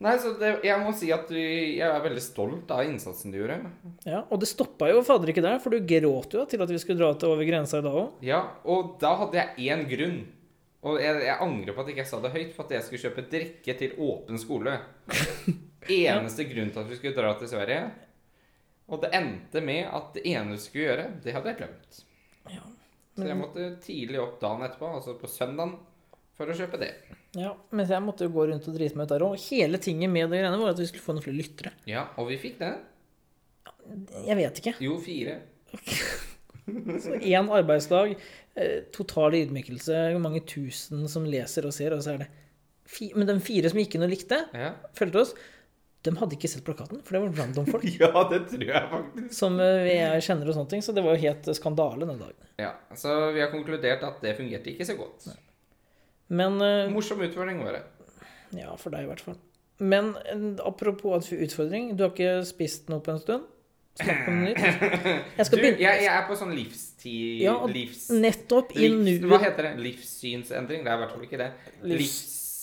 Speaker 2: Nei, så det, jeg må si at du, jeg er veldig stolt av innsatsen du gjorde.
Speaker 1: Ja, Og det stoppa jo fader ikke der, for du gråt jo til at vi skulle dra til over grensa i dag òg.
Speaker 2: Ja, og da hadde jeg én grunn. Og jeg, jeg angrer på at ikke jeg sa det høyt, for at jeg skulle kjøpe drikke til åpen *laughs* skole. Eneste grunn til at vi skulle dra til Sverige. Og det endte med at det ene vi skulle gjøre, det hadde jeg glemt.
Speaker 1: Ja.
Speaker 2: Så jeg måtte tidlig opp dagen etterpå, altså på søndagen, for å kjøpe det.
Speaker 1: Ja, men jeg måtte jo gå rundt og drite meg ut der òg. Hele tinget med det greiene var at vi skulle få noen flere lyttere.
Speaker 2: Ja, og vi fikk det.
Speaker 1: Jeg vet ikke.
Speaker 2: Jo, fire.
Speaker 1: Så én arbeidsdag, eh, total ydmykelse, mange tusen som leser og ser, og så er det fi Men de fire som gikk inn og likte,
Speaker 2: Ja,
Speaker 1: fulgte oss, de hadde ikke sett plakaten, for det var random folk
Speaker 2: *laughs* ja det tror jeg faktisk.
Speaker 1: som eh, jeg kjenner og sånne ting, så det var jo helt skandale den dagen.
Speaker 2: Ja, Så vi har konkludert at det fungerte ikke så godt.
Speaker 1: Men eh,
Speaker 2: Morsom utfordring var det.
Speaker 1: Ja, for deg i hvert fall. Men eh, apropos at vi utfordring, du har ikke spist noe på en stund? Start på noe nytt. Jeg
Speaker 2: Du,
Speaker 1: skal
Speaker 2: jeg,
Speaker 1: begynne
Speaker 2: jeg er på sånn livstid...
Speaker 1: Ja, og
Speaker 2: livs...
Speaker 1: nettopp i
Speaker 2: livs hva
Speaker 1: nuet.
Speaker 2: heter det? Livssynsendring? Det er i hvert fall ikke det. Livs...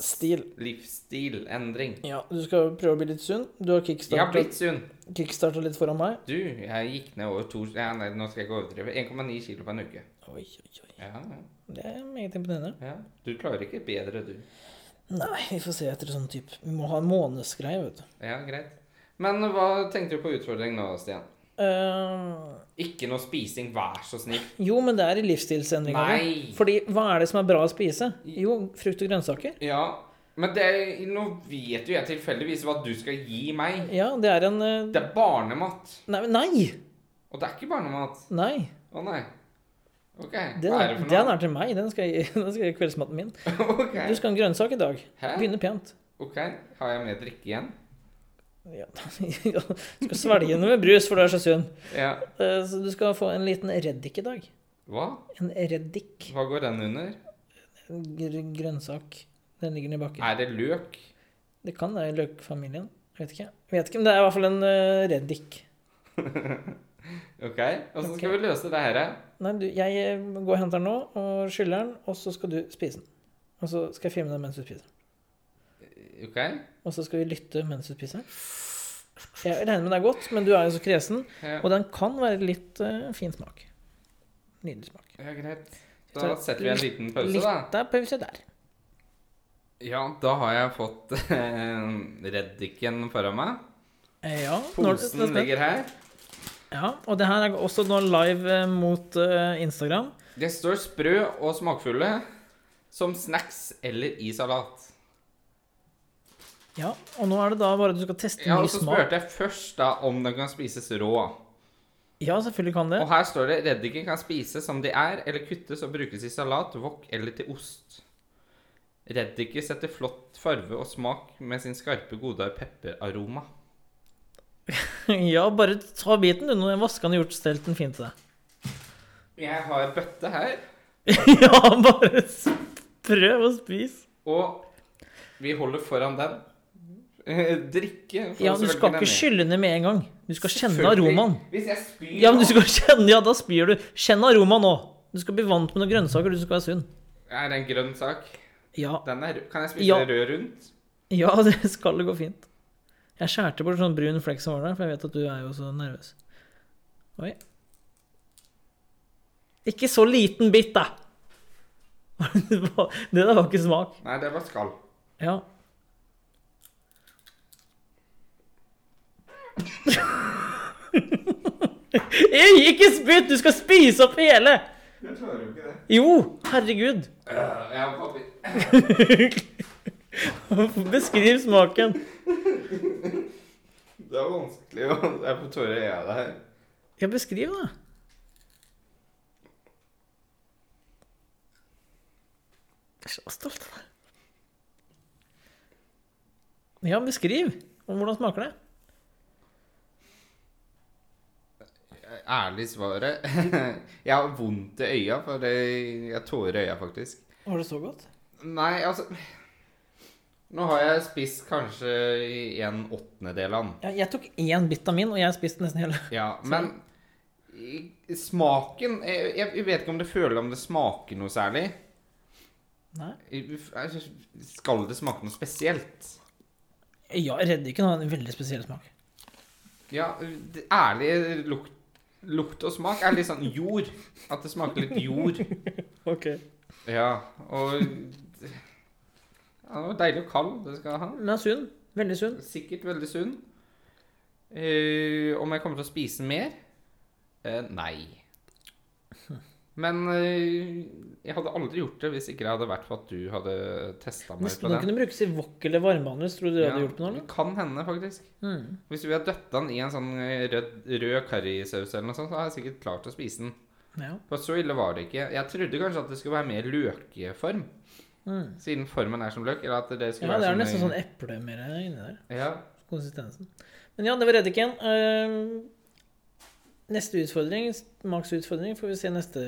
Speaker 1: Livsstil.
Speaker 2: Livsstilendring.
Speaker 1: Ja, du skal prøve å bli litt sunn. Du har
Speaker 2: Jeg har
Speaker 1: kickstarta
Speaker 2: blitt sunn.
Speaker 1: kickstarta litt foran meg.
Speaker 2: Du, jeg gikk ned over to ja, nei, Nå skal jeg ikke overdrive. 1,9 kilo på en uke.
Speaker 1: Oi, oi, oi.
Speaker 2: Ja, ja,
Speaker 1: Det er meget imponerende.
Speaker 2: ja. Du klarer ikke bedre, du.
Speaker 1: Nei, vi får se etter sånn type Vi må ha en månedsgreie, vet du.
Speaker 2: Ja, greit. Men hva tenkte du på utfordring nå, Stian?
Speaker 1: Eh,
Speaker 2: Ikke noe spising, vær så snill.
Speaker 1: jo, men det er i livsstilsendringa.
Speaker 2: Nei.
Speaker 1: Fordi hva er det som er bra å spise? Jo, frukt og grønnsaker.
Speaker 2: Ja, men det, nå vet jo jeg tilfeldigvis hva du skal gi meg.
Speaker 1: Ja, det er en eh,
Speaker 2: Det er barnemat.
Speaker 1: Nei! men Nei!
Speaker 2: Og det er ikke barnemat.
Speaker 1: nei.
Speaker 2: Å nei. Ok,
Speaker 1: Den,
Speaker 2: hva er
Speaker 1: er,
Speaker 2: det for
Speaker 1: den
Speaker 2: noe?
Speaker 1: er til meg. Den skal jeg *laughs* den skal jeg i kveldsmaten min.
Speaker 2: *laughs* ok,
Speaker 1: Du skal ha en grønnsak i dag.
Speaker 2: Hæ?
Speaker 1: Begynne pent.
Speaker 2: ok, har jeg med drikke igjen?
Speaker 1: Ja. *laughs* ja, Du skal svelge noe med brus, for du er så sunn.
Speaker 2: Ja.
Speaker 1: Eh, Så du skal få en liten reddik i dag.
Speaker 2: Hva?
Speaker 1: En reddik.
Speaker 2: Hva går den under?
Speaker 1: En gr- grønnsak. Den ligger nedi bakken.
Speaker 2: Er det løk?
Speaker 1: Det kan være i løkfamilien. Jeg Vet ikke. Jeg Vet ikke, men det er i hvert fall en eh, reddik.
Speaker 2: Ok, og så skal vi løse det her.
Speaker 1: Nei, du, jeg eh, går og henter den nå, og skyller den, og så skal du spise den. Og så skal jeg filme den mens du spiser den.
Speaker 2: Ok,
Speaker 1: Og så skal vi lytte mens du spiser den. Jeg regner med det er godt, men du er jo så kresen.
Speaker 2: ja,
Speaker 1: Og den kan være litt eh, fin smak. Nydelig smak.
Speaker 2: ja greit. Da setter vi en liten pause da.
Speaker 1: Litt av pause der.
Speaker 2: Ja, da har jeg fått *laughs* eh, reddiken foran meg.
Speaker 1: Eh, Ja, når,
Speaker 2: Posen ligger her.
Speaker 1: ja, og det her er også nå live eh, mot eh, Instagram.
Speaker 2: Det står sprø og smakfulle som snacks eller i salat.
Speaker 1: Ja, og nå er det da bare at du skal teste
Speaker 2: Ja, og
Speaker 1: ny
Speaker 2: så
Speaker 1: smak.
Speaker 2: spurte jeg først da om den kan spises rå.
Speaker 1: Ja, selvfølgelig kan det.
Speaker 2: Og her står det reddiker kan spises som de er, eller kuttes og brukes i salat, wok eller til ost. Reddiker setter flott farve og smak med sin skarpe, gode pepperaroma.
Speaker 1: *laughs* Ja, bare ta biten du, når jeg vasker den og gjort stelt den fint til deg. *laughs*
Speaker 2: Jeg har bøtte her,
Speaker 1: Ja, bare s- prøv å spise.
Speaker 2: og vi holder foran den. *laughs* Eh, Drikke får
Speaker 1: Ja,
Speaker 2: selvfølgelig
Speaker 1: du skal
Speaker 2: den
Speaker 1: ikke
Speaker 2: i.
Speaker 1: skylle ned med en gang. Du skal kjenne
Speaker 2: Selvfølgelig.
Speaker 1: aromaen.
Speaker 2: Hvis jeg spyr
Speaker 1: Ja, men du
Speaker 2: nå-
Speaker 1: skal *laughs* kjenne, ja, da spyr du. Kjenn aroma nå. Du skal bli vant med noen grønnsaker, du skal være sunn.
Speaker 2: Er det en grønn sak?
Speaker 1: Ja,
Speaker 2: Den er, rød. kan jeg spise
Speaker 1: Ja.
Speaker 2: rød rundt?
Speaker 1: *laughs* ja, det skal gå fint. Jeg skjærte bort sånn brun flekk som var der, for jeg vet at du er jo så nervøs. Oi. Ikke så liten bit, da! *laughs* Det var- det der var ikke smak.
Speaker 2: Nei, det var skall.
Speaker 1: Ja. *laughs* Ei, Ikke spytt! Du skal spise opp hele!
Speaker 3: Jeg klarer jo ikke det.
Speaker 1: Jo, herregud. *laughs*
Speaker 2: Øh, jeg har papir.
Speaker 1: Beskriv smaken.
Speaker 3: Det er vanskelig å Jeg får tårer i øyet her.
Speaker 1: Ja, beskriv, da. Jeg er så stolt av deg. Ja, beskriv. Og hvordan smaker det?
Speaker 2: Ærlig svaret *laughs* Jeg har vondt i øya, for det- jeg har tårer i øya, faktisk.
Speaker 1: Var det så godt?
Speaker 2: Nei, altså Nå har jeg spist kanskje i en åttendedel av den.
Speaker 1: Ja, jeg tok én bit av min, og jeg spiste nesten hele.
Speaker 2: Ja, men i- i smaken jeg, jeg jeg vet ikke om det føler om det smaker noe særlig.
Speaker 1: Nei.
Speaker 2: I- altså, Skal det smake noe spesielt?
Speaker 1: Ja, reddiken har en veldig spesiell smak.
Speaker 2: Ja, det- ærlig lukt, lukt og smak er litt sånn jord. At det smaker litt jord.
Speaker 1: Ok.
Speaker 2: Ja, og ja, Det var deilig og kald. Det skal jeg ha.
Speaker 1: Den er sunn. Veldig sunn.
Speaker 2: Sikkert veldig sunn. Eh, om jeg kommer til å spise mer? Eh, nei. Men eh, jeg hadde aldri gjort det hvis ikke jeg hadde vært for at du hadde testa meg
Speaker 1: Hvis
Speaker 2: på
Speaker 1: den
Speaker 2: den.
Speaker 1: kunne brukes i wok eller varmehandler, tror du det hadde
Speaker 2: Ja,
Speaker 1: hjulpet noe? eller?
Speaker 2: kan hende, faktisk.
Speaker 1: Mm.
Speaker 2: Hvis vi hadde døtta den i en sånn eh, rød, rød currysaus eller noe sånt, så hadde jeg sikkert klart å spise den.
Speaker 1: Ja.
Speaker 2: For så ille var det ikke. Jeg trodde kanskje at det skulle være mer løkeform,
Speaker 1: Mm.
Speaker 2: siden formen er som løk. Eller at det skulle
Speaker 1: ja, det
Speaker 2: være
Speaker 1: er nesten
Speaker 2: som
Speaker 1: sånn eple mer inni der.
Speaker 2: Ja,
Speaker 1: konsistensen. Men ja, det var reddiken. Ehm, Neste utfordring, Max utfordring, får vi se neste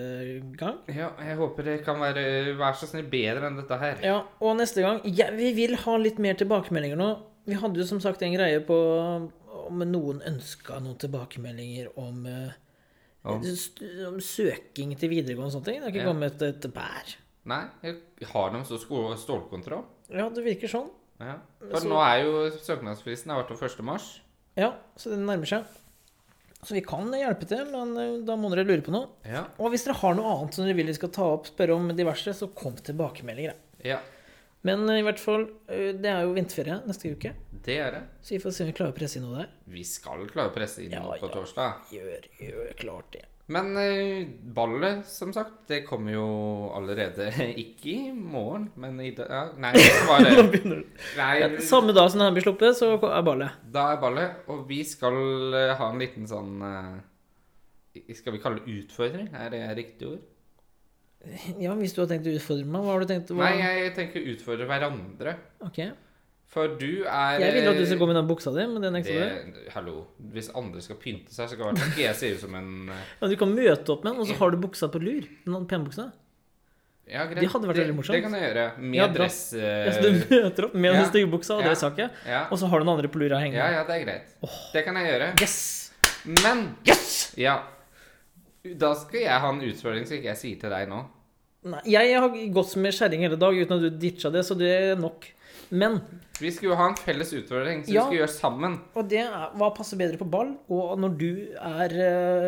Speaker 1: gang.
Speaker 2: Ja, jeg håper det kan være Vær så snill bedre enn dette her.
Speaker 1: Ja, og neste gang ja, Vi vil ha litt mer tilbakemeldinger nå. Vi hadde jo som sagt en greie på om noen ønska noen tilbakemeldinger om, eh,
Speaker 2: Om?
Speaker 1: st- om søking til videregående og sånne ting. Det har ikke
Speaker 2: Ja.
Speaker 1: kommet et bær.
Speaker 2: Nei, jeg har dem så sko- stålkontroll.
Speaker 1: Ja, det virker sånn.
Speaker 2: Ja. For
Speaker 1: Så-
Speaker 2: nå er jo søknadsfristen har vært på 1. mars.
Speaker 1: Ja, så den nærmer seg. Så vi kan hjelpe til, men eh, da må dere lure på noe.
Speaker 2: Ja.
Speaker 1: Og hvis dere har noe annet som dere vil vi skal ta opp, spørre om diverse, så kom tilbakemeldinger. da.
Speaker 2: ja.
Speaker 1: Men eh, i hvert fall, eh, det er jo vinterferie neste uke,
Speaker 2: Det er det.
Speaker 1: så vi får se om vi klarer å presse inn noe der.
Speaker 2: Vi skal klare å presse inn
Speaker 1: Ja,
Speaker 2: noe på
Speaker 1: ja.
Speaker 2: torsdag.
Speaker 1: Gjør, gjør klart det.
Speaker 2: Men eh, ballet, som sagt, det kommer jo allerede *laughs* ikke i morgen, men i dag ja, Nei, det var
Speaker 1: *laughs* Nå
Speaker 2: det.
Speaker 1: begynner det. Ja,
Speaker 2: Nei,
Speaker 1: Samme dag som denne blir sluppet, så er ballet.
Speaker 2: Da er ballet, og vi skal eh, ha en liten sånn eh, Skal vi kalle det utfordring? Er det riktig ord?
Speaker 1: *laughs* Ja, hvis du har tenkt å utfordre meg, hva har du tenkt? Hva?
Speaker 2: Nei, jeg tenker utfordre hverandre.
Speaker 1: Ok.
Speaker 2: For du er eh,
Speaker 1: Jeg ville at du skulle gå med den buksa di, men den nekter du.
Speaker 2: det, Hallo. Hvis andre skal pynte seg, så skal i hvert fall ikke jeg se ut som en eh,
Speaker 1: Ja, du kan møte opp med den, og så har du buksa på lur. Den penbuksa.
Speaker 2: Ja, greit.
Speaker 1: Det hadde vært veldig morsomt.
Speaker 2: Det, det kan jeg gjøre. Med
Speaker 1: Ja, bra.
Speaker 2: dress eh,
Speaker 1: Ja, så du møter opp med
Speaker 2: ja.
Speaker 1: den stygge buksa, og
Speaker 2: Ja.
Speaker 1: det sa ikke jeg.
Speaker 2: *laughs* ja.
Speaker 1: Og så har du den andre på lura
Speaker 2: ja,
Speaker 1: hengende.
Speaker 2: ja, det er greit. Det kan jeg gjøre.
Speaker 1: Yes!
Speaker 2: Men
Speaker 1: Yes!
Speaker 2: Ja. Da skal jeg ha en utfordring som ikke jeg sier til deg nå.
Speaker 1: Nei, jeg har gått med kjerring hele dag uten at du ditcha det, så det er nok. Men
Speaker 2: Vi skulle jo ha en felles utfordring som
Speaker 1: Ja.
Speaker 2: vi skulle gjøre sammen.
Speaker 1: Og det er hva passer bedre på ball, og når du er eh,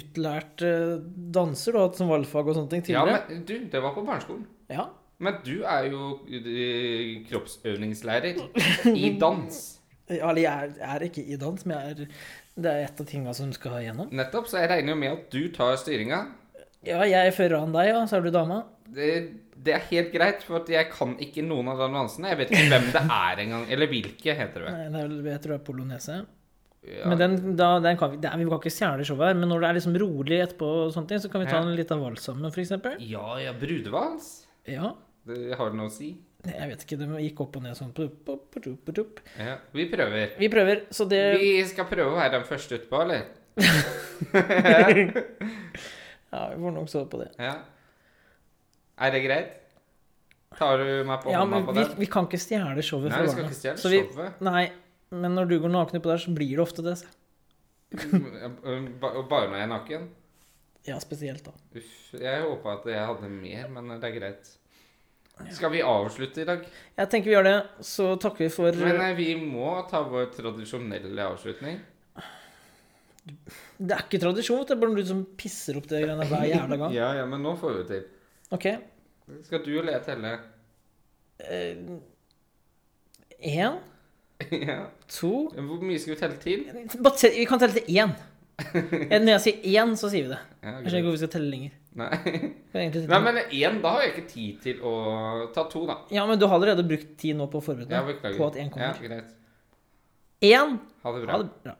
Speaker 1: utlært eh, danser, du har hatt som valgfag og sånne ting
Speaker 2: Ja,
Speaker 1: tidligere.
Speaker 2: men du, det var på barneskolen.
Speaker 1: Ja,
Speaker 2: Men du er jo eh,
Speaker 1: *laughs*
Speaker 2: kroppsøvingslærer i dans.
Speaker 1: Ja, Eller jeg er, er ikke i dans, men jeg er, det er et av tinga som du skal gjennom.
Speaker 2: Nettopp, så jeg regner jo med at du tar styringa.
Speaker 1: Ja, jeg er foran deg, ja, så er du dama.
Speaker 2: Det, det er helt greit, for at jeg kan ikke noen av de dansene. Jeg vet ikke hvem det er engang. Eller hvilke, heter det.
Speaker 1: Nei, det er, vel- jeg tror det er polonese.
Speaker 2: Ja.
Speaker 1: Men den, da, den kan vi, det er, vi kan ikke stjele showet her, men når det er liksom rolig etterpå, og sånne ting, så kan vi ta
Speaker 2: Ja.
Speaker 1: en liten vals sammen, f.eks.
Speaker 2: ja, ja, brudevals.
Speaker 1: Ja.
Speaker 2: Det har noe å si.
Speaker 1: Jeg vet ikke, det gikk opp og ned sånn. Pup, pup, pup, pup, pup.
Speaker 2: Ja, vi prøver.
Speaker 1: Vi prøver, så det
Speaker 2: Vi skal prøve å være den første utpå, eller?
Speaker 1: *laughs* Ja, vi får nok sove på det.
Speaker 2: Ja. Er det greit? Tar du meg på
Speaker 1: Ja,
Speaker 2: hånda
Speaker 1: men
Speaker 2: på
Speaker 1: vi,
Speaker 2: den?
Speaker 1: vi kan ikke stjele showet
Speaker 2: Nei,
Speaker 1: fra
Speaker 2: vi skal
Speaker 1: barna.
Speaker 2: ikke stjele
Speaker 1: Så vi-
Speaker 2: showet.
Speaker 1: Nei, men når du går naken utpå der, så blir det ofte det. så- *laughs*
Speaker 2: Mm, ba- Og bare når jeg er naken?
Speaker 1: Ja, spesielt da.
Speaker 2: Uff, jeg håpa at jeg hadde mer, men det er greit. Skal vi avslutte i dag?
Speaker 1: Jeg tenker vi gjør det, så takker vi for
Speaker 2: Men eh, vi må ta vår tradisjonelle avslutning.
Speaker 1: Det er ikke tradisjon, vet du. Det er bare du som pisser opp det greiene hver jævla gang.
Speaker 2: Ja, ja, men nå får vi det til.
Speaker 1: Ok.
Speaker 2: Skal du eller jeg telle? *laughs*
Speaker 1: eh, Én,
Speaker 2: ja.
Speaker 1: to
Speaker 2: Hvor mye skal vi telle til?
Speaker 1: Bare te- Vi kan telle til
Speaker 2: *laughs*
Speaker 1: én. Eh, Når jeg sier én, så sier vi det.
Speaker 2: Ja,
Speaker 1: Jeg skjønner ikke
Speaker 2: greit.
Speaker 1: hvorfor vi skal telle lenger.
Speaker 2: Nei. *laughs*
Speaker 1: Vi kan egentlig
Speaker 2: Nei,
Speaker 1: sitte-
Speaker 2: men én, da har jeg ikke tid til å ta to, da.
Speaker 1: Ja, men du har allerede brukt tid nå på å forberede
Speaker 2: Ja,
Speaker 1: deg
Speaker 2: beklager.
Speaker 1: på at én kommer.
Speaker 2: Ja, greit.
Speaker 1: Én.
Speaker 2: Ha det bra.
Speaker 1: Ha det bra.